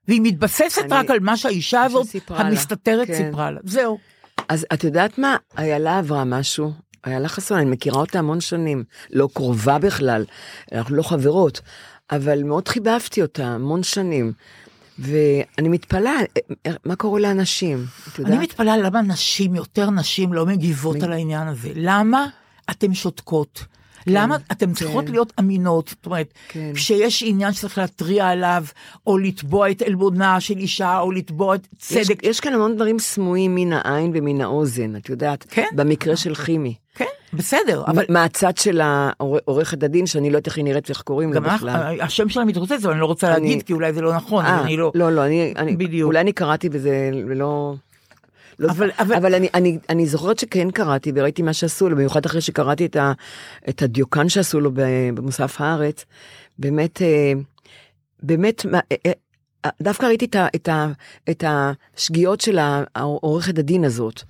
[SPEAKER 3] והיא מתבססת
[SPEAKER 4] אני-
[SPEAKER 3] רק על מה שהאישה הזאת,
[SPEAKER 4] שסיפרה לה.
[SPEAKER 3] המסתתרת,
[SPEAKER 4] כן.
[SPEAKER 3] סיפרה לה. זהו.
[SPEAKER 4] אז את יודעת מה? איילה עברה משהו. איילה חסון, אני מכירה אותה המון שנים. לא קרובה בכלל, אנחנו לא חברות, אבל מאוד חיבבתי אותה המון שנים. ואני מתפלאה, אה, מה קורה לאנשים, את יודעת?
[SPEAKER 3] אני מתפלאה למה נשים, יותר נשים, לא מגיבות על העניין הזה. למה אתם שותקות? למה אתן צריכות להיות אמינות? זאת אומרת,
[SPEAKER 4] כן.
[SPEAKER 3] כשיש עניין שצריך להתריע עליו, או לתבוע את עלבונה של אישה, או לתבוע את
[SPEAKER 4] יש,
[SPEAKER 3] צדק.
[SPEAKER 4] יש כאן המון דברים סמויים מן העין ומן האוזן, את יודעת?
[SPEAKER 3] כן.
[SPEAKER 4] במקרה של חימי.
[SPEAKER 3] כן, בסדר, אבל
[SPEAKER 4] אבל מהצד של העור- עורכת הדין, שאני לא יודעת איך היא נראית ואיך קוראים לה
[SPEAKER 3] גם לך,
[SPEAKER 4] בכלל.
[SPEAKER 3] השם שלה מתרוצץ, אבל אני לא רוצה
[SPEAKER 4] אני-
[SPEAKER 3] להגיד, כי אולי זה לא נכון, אז
[SPEAKER 4] אה,
[SPEAKER 3] אני לא...
[SPEAKER 4] לא, לא, אני, אני,
[SPEAKER 3] בדיוק.
[SPEAKER 4] אולי אני קראתי וזה לא... לא
[SPEAKER 3] אבל-
[SPEAKER 4] אבל,
[SPEAKER 3] אבל-
[SPEAKER 4] אבל, אבל אני, אני, אני זוכרת שכן קראתי וראיתי מה שעשו לו, במיוחד אחרי שקראתי את, ה, את הדיוקן שעשו לו ב- במוסף הארץ. באמת, אה, באמת, מה- אה, אה, דווקא ראיתי את, ה, את, ה, את השגיאות של ה- העורכת הדין הזאת.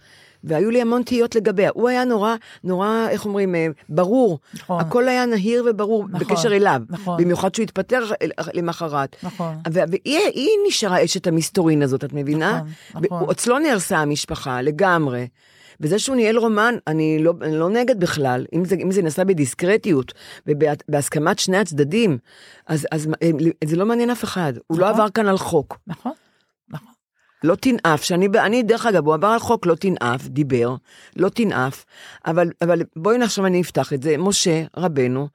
[SPEAKER 4] והיו לי המון תהיות לגביה. הוא היה נורא, נורא, איך אומרים, אה, ברור.
[SPEAKER 3] נכון.
[SPEAKER 4] הכל היה נהיר וברור
[SPEAKER 3] נכון,
[SPEAKER 4] בקשר אליו.
[SPEAKER 3] נכון.
[SPEAKER 4] במיוחד שהוא התפטר אל- למחרת.
[SPEAKER 3] נכון.
[SPEAKER 4] ו- והיא היא נשארה אשת המסתורין הזאת, את מבינה?
[SPEAKER 3] נכון, נכון.
[SPEAKER 4] ו- אצלו נהרסה המשפחה, לגמרי. וזה שהוא ניהל רומן, אני לא, אני לא נגד בכלל, אם זה, אם זה נעשה בדיסקרטיות ובהסכמת שני הצדדים, אז, אז מה- הם- זה לא מעניין אף אחד. הוא לא
[SPEAKER 3] נכון.
[SPEAKER 4] עבר כאן על חוק.
[SPEAKER 3] נכון, נכון.
[SPEAKER 4] לא תנאף, שאני, ב- אני דרך אגב, הוא עבר על חוק לא תנאף, דיבר, לא תנאף, אבל, אבל בואי נחשוב, אני אפתח את זה, משה רבנו,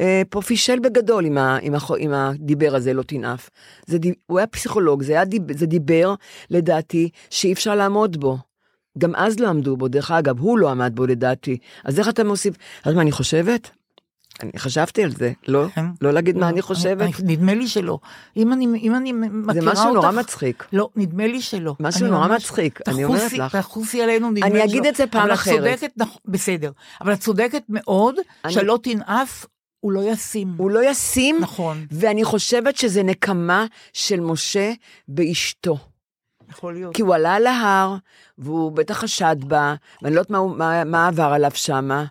[SPEAKER 4] אה, פה פישל בגדול עם, ה, עם, הח, עם הדיבר הזה, לא תנאף. זה, די- הוא היה פסיכולוג, זה, היה דיב, זה דיבר, לדעתי, שאי אפשר לעמוד בו. גם אז לא עמדו בו, דרך אגב, הוא לא עמד בו לדעתי. אז איך אתה מוסיף, את יודעת מה אני חושבת? אני חשבתי על זה, לא,
[SPEAKER 3] כן.
[SPEAKER 4] לא להגיד מה
[SPEAKER 3] לא,
[SPEAKER 4] אני חושבת,
[SPEAKER 3] אני- נדמה לי שלא. אם אני, אם אני מכירה אותך...
[SPEAKER 4] זה משהו נורא מצחיק.
[SPEAKER 3] לא, נדמה לי שלא.
[SPEAKER 4] משהו
[SPEAKER 3] אני
[SPEAKER 4] נורא
[SPEAKER 3] ממש-
[SPEAKER 4] מצחיק, אני אומרת
[SPEAKER 3] תחוסי-
[SPEAKER 4] לך.
[SPEAKER 3] תחוסי עלינו, נדמה
[SPEAKER 4] אני
[SPEAKER 3] לי
[SPEAKER 4] אגיד
[SPEAKER 3] שלא.
[SPEAKER 4] את זה פעם אחרת.
[SPEAKER 3] אבל את צודקת, נכון, בסדר. אבל את צודקת מאוד,
[SPEAKER 4] אני-
[SPEAKER 3] שלא תנאף, הוא לא ישים.
[SPEAKER 4] הוא לא ישים,
[SPEAKER 3] נכון,
[SPEAKER 4] ואני חושבת שזה נקמה של משה באשתו.
[SPEAKER 3] יכול להיות.
[SPEAKER 4] כי הוא עלה על ההר, והוא בטח חשד בה, ואני לא יודעת מה, הוא- מה, מה עבר עליו שמה.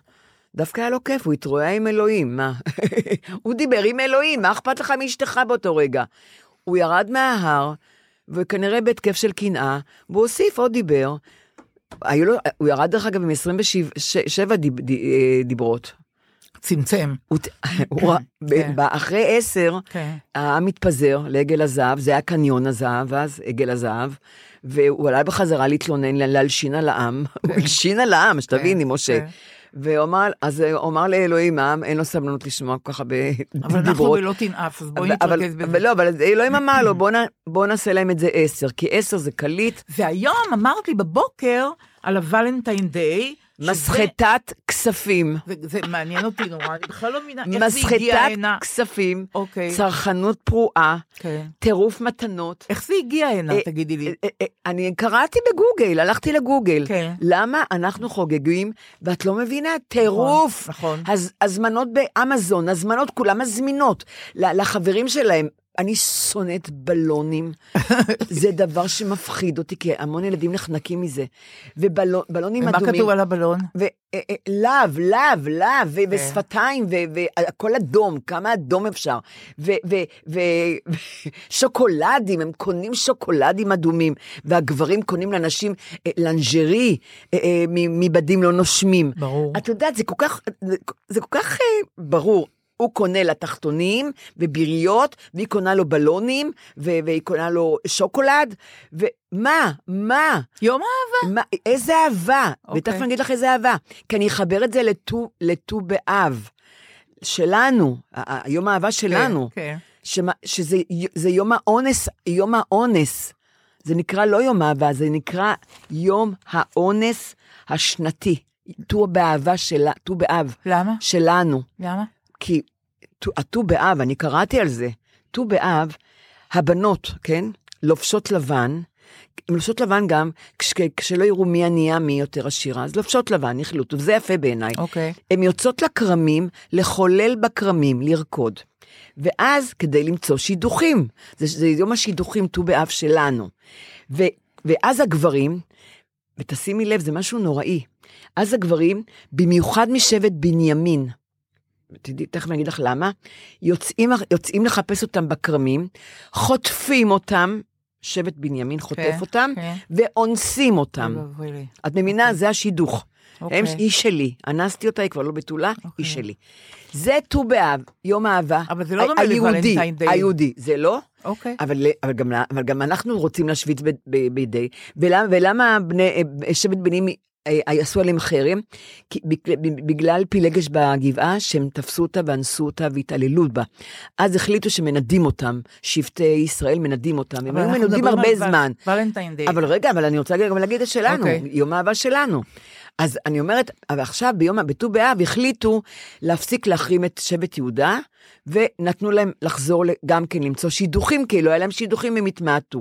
[SPEAKER 4] דווקא היה לו כיף, הוא התרועע עם אלוהים, מה? הוא דיבר עם אלוהים, מה אכפת לך מאשתך באותו רגע? הוא ירד מההר, וכנראה בהתקף של קנאה, והוא הוסיף עוד דיבר. היו לו, הוא ירד דרך אגב עם 27 דיב, ד, אה, דיברות.
[SPEAKER 3] צמצם.
[SPEAKER 4] הוא, ת- הוא,
[SPEAKER 3] כן.
[SPEAKER 4] ב- ב- אחרי עשר,
[SPEAKER 3] כן.
[SPEAKER 4] העם התפזר לעגל הזהב, זה היה קניון הזהב אז, עגל הזהב, והוא עלה בחזרה להתלונן, לה- להלשין על העם. הוא הלשין על העם, שתביני, משה.
[SPEAKER 3] כן.
[SPEAKER 4] והוא אמר, אז הוא אמר לאלוהים, העם, אין לו סבלנות לשמוע כל כך הרבה
[SPEAKER 3] אבל אנחנו
[SPEAKER 4] דיברות.
[SPEAKER 3] בלא תנאף, אז בואי
[SPEAKER 4] אבל-
[SPEAKER 3] נתרכז
[SPEAKER 4] אבל
[SPEAKER 3] בזה.
[SPEAKER 4] לא, אבל אלוהים אמר לו, "בוא נ- בוא נעשה להם את זה עשר, כי עשר זה קליט,
[SPEAKER 3] והיום אמרת לי בבוקר על הוולנטיין דיי. שזה-
[SPEAKER 4] מסחטת כספים.
[SPEAKER 3] זה- זה מעניין אותי נורא, אני בכלל לא מבינה איך זה הגיע
[SPEAKER 4] מסחטת
[SPEAKER 3] הנה.
[SPEAKER 4] כספים,
[SPEAKER 3] אוקיי.
[SPEAKER 4] צרכנות פרועה,
[SPEAKER 3] כן.
[SPEAKER 4] טירוף מתנות.
[SPEAKER 3] איך זה הגיע הנה,
[SPEAKER 4] אה,
[SPEAKER 3] תגידי לי.
[SPEAKER 4] אה, אה, אני קראתי בגוגל, הלכתי לגוגל.
[SPEAKER 3] כן.
[SPEAKER 4] למה אנחנו חוגגים, ואת לא מבינה, טירוף.
[SPEAKER 3] נכון.
[SPEAKER 4] הז, הזמנות באמזון, הזמנות, כולם מזמינות ל- לחברים שלהם. אני שונאת בלונים, זה דבר שמפחיד אותי, כי המון ילדים נחנקים מזה. ובלונים ובלון,
[SPEAKER 3] מה
[SPEAKER 4] אדומים.
[SPEAKER 3] כתוב על הבלון?
[SPEAKER 4] ולאו, לאו, לאו, ו- ושפתיים, והכל אדום, כמה אדום אפשר. ושוקולדים, הם קונים שוקולדים אדומים, והגברים קונים לנשים אה, לנג'רי אה, אה, מ- מבדים לא נושמים.
[SPEAKER 3] ברור.
[SPEAKER 4] את יודעת, זה כל כך, זה- זה כל כך אה, ברור. הוא קונה לה תחתונים וביריות, והיא קונה לו בלונים, ו- והיא קונה לו שוקולד, ומה, מה?
[SPEAKER 3] יום אהבה.
[SPEAKER 4] מה, איזה אהבה,
[SPEAKER 3] אוקיי.
[SPEAKER 4] ותכף אני אגיד לך איזה אהבה, כי אני אחבר את זה לט"ו- לט"ו באב, שלנו, ה- ה- יום האהבה שלנו,
[SPEAKER 3] כן.
[SPEAKER 4] שמה- שזה י- זה יום האונס, יום האונס, זה נקרא לא יום האהבה, זה נקרא יום האונס השנתי, ט"ו באהבה שלה, ט"ו באב
[SPEAKER 3] למה?
[SPEAKER 4] שלנו,
[SPEAKER 3] למה?
[SPEAKER 4] כי ט"ו- הט"ו באב, אני קראתי על זה, ט"ו באב, הבנות, כן, לובשות לבן, הן לובשות לבן גם, כש, כשלא יראו מי ענייה, מי יותר עשירה, אז לובשות לבן, החליטו, וזה יפה בעיניי.
[SPEAKER 3] אוקיי.
[SPEAKER 4] הן יוצאות לכרמים, לחולל בכרמים, לרקוד. ואז כדי למצוא שידוכים, זה, זה יום השידוכים ט"ו באב שלנו. ו, ואז הגברים, ותשימי לב, זה משהו נוראי, אז הגברים, במיוחד משבט בנימין, תדעי, תכף אני אגיד לך למה, יוצאים, יוצאים לחפש אותם בכרמים, חוטפים אותם, שבט בנימין חוטף
[SPEAKER 3] אוקיי,
[SPEAKER 4] אותם,
[SPEAKER 3] אוקיי.
[SPEAKER 4] ואונסים אותם.
[SPEAKER 3] אוי ואבוי לי.
[SPEAKER 4] את מבינה? זה השידוך.
[SPEAKER 3] לא, אוקיי.
[SPEAKER 4] הם, היא שלי, אנסתי אותה, היא כבר לא בתולה, היא שלי. זה ט"ו באב, יום האהבה.
[SPEAKER 3] אבל זה לא
[SPEAKER 4] ה-
[SPEAKER 3] דומה
[SPEAKER 4] היהודי,
[SPEAKER 3] ל-Valentine Day.
[SPEAKER 4] היהודי, זה לא?
[SPEAKER 3] אוקיי.
[SPEAKER 4] אבל, אבל, גם, אבל גם אנחנו רוצים להשוויץ ב- ב- בידי. ולמה, ולמה בני, שבט בנים אה, עשו עליהם חרם? כי, בג- בגלל פילגש בגבעה, שהם תפסו אותה ואנסו אותה והתעללו בה. אז החליטו שמנדים אותם, שבטי ישראל מנדים אותם. הם
[SPEAKER 3] אבל
[SPEAKER 4] היו
[SPEAKER 3] אנחנו
[SPEAKER 4] מנודים
[SPEAKER 3] מדברים
[SPEAKER 4] הרבה
[SPEAKER 3] על ול-
[SPEAKER 4] זמן.
[SPEAKER 3] ולנטיין דיי.
[SPEAKER 4] אבל רגע, אבל אני רוצה גם להגיד את שלנו,
[SPEAKER 3] אוקיי.
[SPEAKER 4] יום האהבה שלנו. אז אני אומרת, אבל עכשיו ביום, בט"ו באב החליטו להפסיק להחרים את שבט יהודה, ונתנו להם לחזור ל- גם כן למצוא שידוכים, כי לא היה להם שידוכים, הם התמעטו.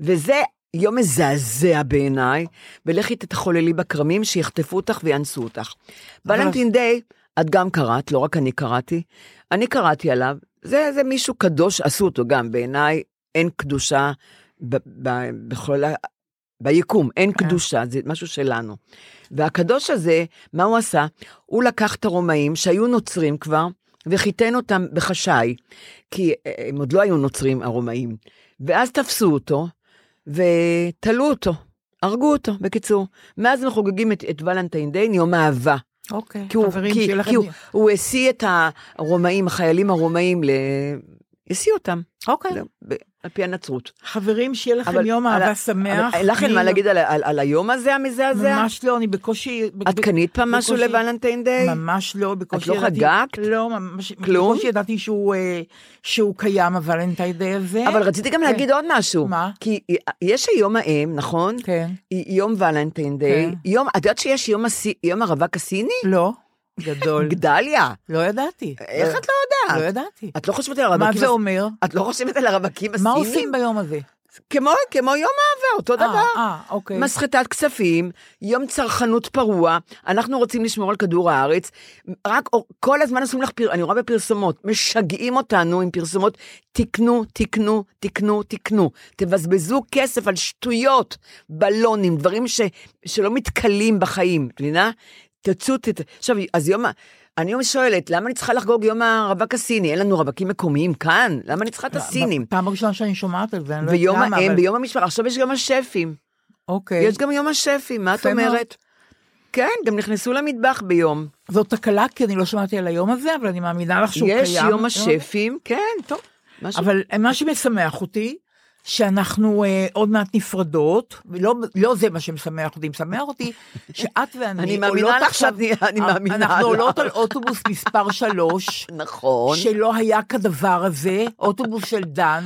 [SPEAKER 4] וזה יום מזעזע בעיניי, ולכי תתחוללי בכרמים שיחטפו אותך ויאנסו אותך. ולנטין דיי, את גם קראת, לא רק אני קראתי, אני קראתי עליו, זה, זה מישהו קדוש, עשו אותו גם, בעיניי אין קדושה ב, ב, בכל ה... ביקום, אין קדושה, זה משהו שלנו. והקדוש הזה, מה הוא עשה? הוא לקח את הרומאים שהיו נוצרים כבר, וחיתן אותם בחשאי, כי אה, הם עוד לא היו נוצרים, הרומאים. ואז תפסו אותו, ותלו אותו, הרגו אותו, בקיצור. מאז הם חוגגים את, את ולנטיין דיין, יום אהבה.
[SPEAKER 3] אוקיי,
[SPEAKER 4] כי הוא,
[SPEAKER 3] חברים,
[SPEAKER 4] כי,
[SPEAKER 3] שיהיה לכם...
[SPEAKER 4] כי הוא, הוא השיא את הרומאים, החיילים הרומאים, ל... השיא אותם,
[SPEAKER 3] אוקיי.
[SPEAKER 4] לא, ב- על פי הנצרות.
[SPEAKER 3] חברים, שיהיה לכם
[SPEAKER 4] אבל-
[SPEAKER 3] יום
[SPEAKER 4] על
[SPEAKER 3] אהבה
[SPEAKER 4] ה-
[SPEAKER 3] שמח.
[SPEAKER 4] אבל לך אין מה
[SPEAKER 3] אני-
[SPEAKER 4] להגיד על, ה- על, על היום הזה המזעזע?
[SPEAKER 3] ממש לא, אני בקושי...
[SPEAKER 4] את קנית פעם משהו
[SPEAKER 3] בקושי-
[SPEAKER 4] לוולנטיין דיי?
[SPEAKER 3] ממש לא, בקושי
[SPEAKER 4] לא
[SPEAKER 3] ידעתי-
[SPEAKER 4] חגגת?
[SPEAKER 3] לא, ממש...
[SPEAKER 4] כלום?
[SPEAKER 3] בקושי ידעתי שהוא, אה, שהוא קיים, הוולנטיין דיי הזה.
[SPEAKER 4] אבל רציתי גם להגיד עוד משהו.
[SPEAKER 3] כן. מה?
[SPEAKER 4] כי יש היום האם, נכון?
[SPEAKER 3] כן.
[SPEAKER 4] יום ולנטיין דיי.
[SPEAKER 3] כן.
[SPEAKER 4] יום, את יודעת שיש יום הסי- יום הרווק הסיני?
[SPEAKER 3] לא. גדול.
[SPEAKER 4] גדליה.
[SPEAKER 3] לא ידעתי.
[SPEAKER 4] איך את לא
[SPEAKER 3] לא
[SPEAKER 4] יודעת?
[SPEAKER 3] ידעתי.
[SPEAKER 4] את לא חושבת על
[SPEAKER 3] מה
[SPEAKER 4] הרווקים
[SPEAKER 3] זה אומר?
[SPEAKER 4] את לא חושבת על הרווקים
[SPEAKER 3] מה
[SPEAKER 4] הסינים?
[SPEAKER 3] עושים ביום הזה?
[SPEAKER 4] כמו, כמו יום אהבה, אותו
[SPEAKER 3] אה,
[SPEAKER 4] דבר.
[SPEAKER 3] אה, אוקיי.
[SPEAKER 4] מסחטת כספים, יום צרכנות פרוע, אנחנו רוצים לשמור על כדור הארץ, רק אור- כל הזמן עושים לך, פר... אני רואה בפרסומות, משגעים אותנו עם פרסומות, תקנו, תקנו, תקנו, תקנו, תבזבזו כסף על שטויות, בלונים, דברים ש... שלא מתכלים בחיים, את מבינה? תצאו, תת... עכשיו, אז יום ה... אני היום שואלת, למה אני צריכה לחגוג יום הרווק הסיני? אין לנו רווקים מקומיים כאן? למה אני צריכה את הסינים?
[SPEAKER 3] פעם ראשונה שאני שומעת על זה, אני לא יודעת
[SPEAKER 4] ויום
[SPEAKER 3] למה. לא, אבל-
[SPEAKER 4] האם, ויום המשפחה, עכשיו יש גם השפים.
[SPEAKER 3] אוקיי.
[SPEAKER 4] יש גם יום השפי, מה את
[SPEAKER 3] יפה מאוד.
[SPEAKER 4] אומרת? כן, גם נכנסו למטבח ביום.
[SPEAKER 3] זאת תקלה, כי אני לא שמעתי על היום הזה, אבל אני מאמינה לך שהוא קיים.
[SPEAKER 4] יש יום השפים, כן, טוב. משהו-
[SPEAKER 3] אבל מה שמשמח אותי, שאנחנו אה, עוד מעט נפרדות, ולא לא זה מה שמשמח אותי, משמח אותי שאת ואני
[SPEAKER 4] אני
[SPEAKER 3] עולות
[SPEAKER 4] מאמינה לך
[SPEAKER 3] עכשיו- אה,
[SPEAKER 4] שאני- אני מאמינה לך.
[SPEAKER 3] אנחנו עולות על אוטובוס מספר 3,
[SPEAKER 4] נכון.
[SPEAKER 3] שלא היה כדבר הזה, אוטובוס של דן.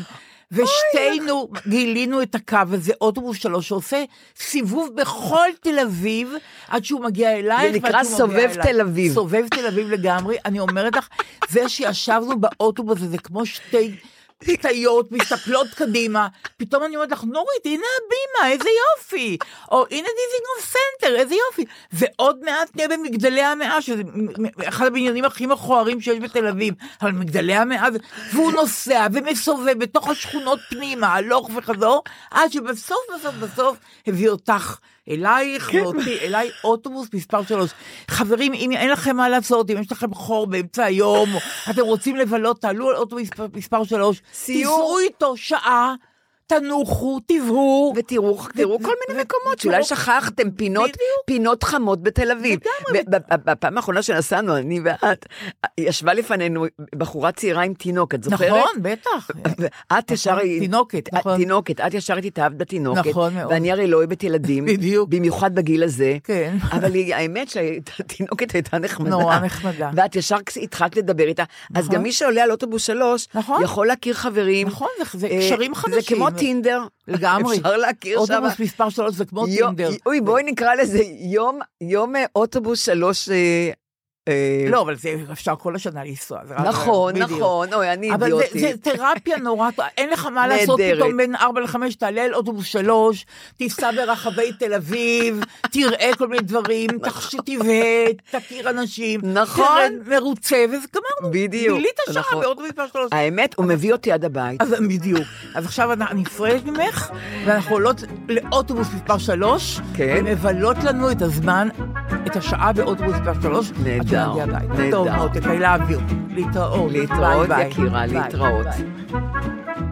[SPEAKER 3] ושתינו גילינו את הקו הזה, אוטובוס שלו, שעושה סיבוב בכל תל אביב, עד שהוא מגיע אלייך.
[SPEAKER 4] זה
[SPEAKER 3] ועד
[SPEAKER 4] נקרא
[SPEAKER 3] שהוא
[SPEAKER 4] סובב
[SPEAKER 3] מגיע אליי.
[SPEAKER 4] תל אביב.
[SPEAKER 3] סובב תל אביב לגמרי. אני אומרת לך, זה שישבנו באוטובוס הזה, כמו שתי פתיות מסתכלות קדימה, פתאום אני אומרת לך, נורית, הנה הבימה, איזה יופי. או הנה דיזינגוף סנטר, איזה יופי. ועוד מעט נהיה במגדלי המאה, שזה מ- מ- אחד הבניינים הכי מכוערים שיש בתל אביב. אבל מגדלי המאה, זה- והוא נוסע ומסובב בתוך השכונות פנימה, הלוך וחזור, עד שבסוף בסוף בסוף הביא אותך.
[SPEAKER 4] כן.
[SPEAKER 3] אלייך, ואותי, אליי אוטובוס מספר 3. חברים, אם אין לכם מה לעשות, אם יש לכם חור באמצע היום, או אתם רוצים לבלות, תעלו על אוטובוס מספר- מספר 3,
[SPEAKER 4] סיור.
[SPEAKER 3] תיסעו איתו שעה, תנוחו, תבהו.
[SPEAKER 4] ותראו תראו
[SPEAKER 3] ו-
[SPEAKER 4] כל מיני
[SPEAKER 3] ו-
[SPEAKER 4] מקומות
[SPEAKER 3] ותראו-
[SPEAKER 4] שאולי שכחתם, פינות
[SPEAKER 3] בדיוק.
[SPEAKER 4] פינות חמות בתל אביב. ב- ב- ב- בפעם האחרונה שנסענו, אני ואת, ישבה לפנינו בחורה צעירה עם תינוק, את זוכרת?
[SPEAKER 3] נכון, בטח.
[SPEAKER 4] את ישר...
[SPEAKER 3] תינוקת,
[SPEAKER 4] את-
[SPEAKER 3] נכון.
[SPEAKER 4] תינוקת, את ישר התאהבת בתינוקת.
[SPEAKER 3] נכון מאוד.
[SPEAKER 4] ואני הרי לא אוהבת ילדים.
[SPEAKER 3] בדיוק.
[SPEAKER 4] במיוחד בגיל הזה.
[SPEAKER 3] כן.
[SPEAKER 4] אבל היא- האמת שהתינוקת הייתה נחמדה.
[SPEAKER 3] נורא נחמדה.
[SPEAKER 4] ואת ישר כס- התחלת לדבר איתה. אז
[SPEAKER 3] נכון.
[SPEAKER 4] גם מי שעולה על אוטובוס שלוש,
[SPEAKER 3] נכון.
[SPEAKER 4] יכול להכיר חברים.
[SPEAKER 3] נכון, זה- זה
[SPEAKER 4] אה,
[SPEAKER 3] קשרים חדשים.
[SPEAKER 4] זה כמו טינדר.
[SPEAKER 3] לגמרי.
[SPEAKER 4] אפשר להכיר שם.
[SPEAKER 3] אוטובוס מספר 3 זה כמו
[SPEAKER 4] יו-
[SPEAKER 3] טינדר.
[SPEAKER 4] אוי, בואי נקרא לזה יום, יום אה, אוטובוס שלוש אה, אה,
[SPEAKER 3] לא, אבל זה אפשר כל השנה לנסוע. זה רק-
[SPEAKER 4] נכון,
[SPEAKER 3] בדיוק.
[SPEAKER 4] נכון, אוי, אני
[SPEAKER 3] אבל זה,
[SPEAKER 4] אידיוטית.
[SPEAKER 3] זה תרפיה נורא, טובה, אין לך מה לעשות
[SPEAKER 4] נהדרת.
[SPEAKER 3] פתאום בין 4 ל-5, תעלה על אוטובוס 3, תיסע ברחבי תל אביב, תראה כל מיני דברים, תחש- תבהה, תכיר אנשים.
[SPEAKER 4] נכון.
[SPEAKER 3] תרד מרוצה, וגמרנו.
[SPEAKER 4] בדיוק,
[SPEAKER 3] מילאת שעה
[SPEAKER 4] נכון.
[SPEAKER 3] באוטובוס מספר 3.
[SPEAKER 4] האמת, הוא מביא אותי עד הבית.
[SPEAKER 3] אז בדיוק. אז עכשיו אני אני נפרדת ממך, ואנחנו עולות לאוטובוס מספר 3,
[SPEAKER 4] כן.
[SPEAKER 3] ומבלות לנו את הזמן, את השעה באוטובוס מספר 3.
[SPEAKER 4] נהדר, נהדר.
[SPEAKER 3] טוב, מותק, I love you. אוקיי, להתראות.
[SPEAKER 4] להתראות,
[SPEAKER 3] ביי, ביי.
[SPEAKER 4] יקירה,
[SPEAKER 3] ביי,
[SPEAKER 4] להתראות.
[SPEAKER 3] ביי.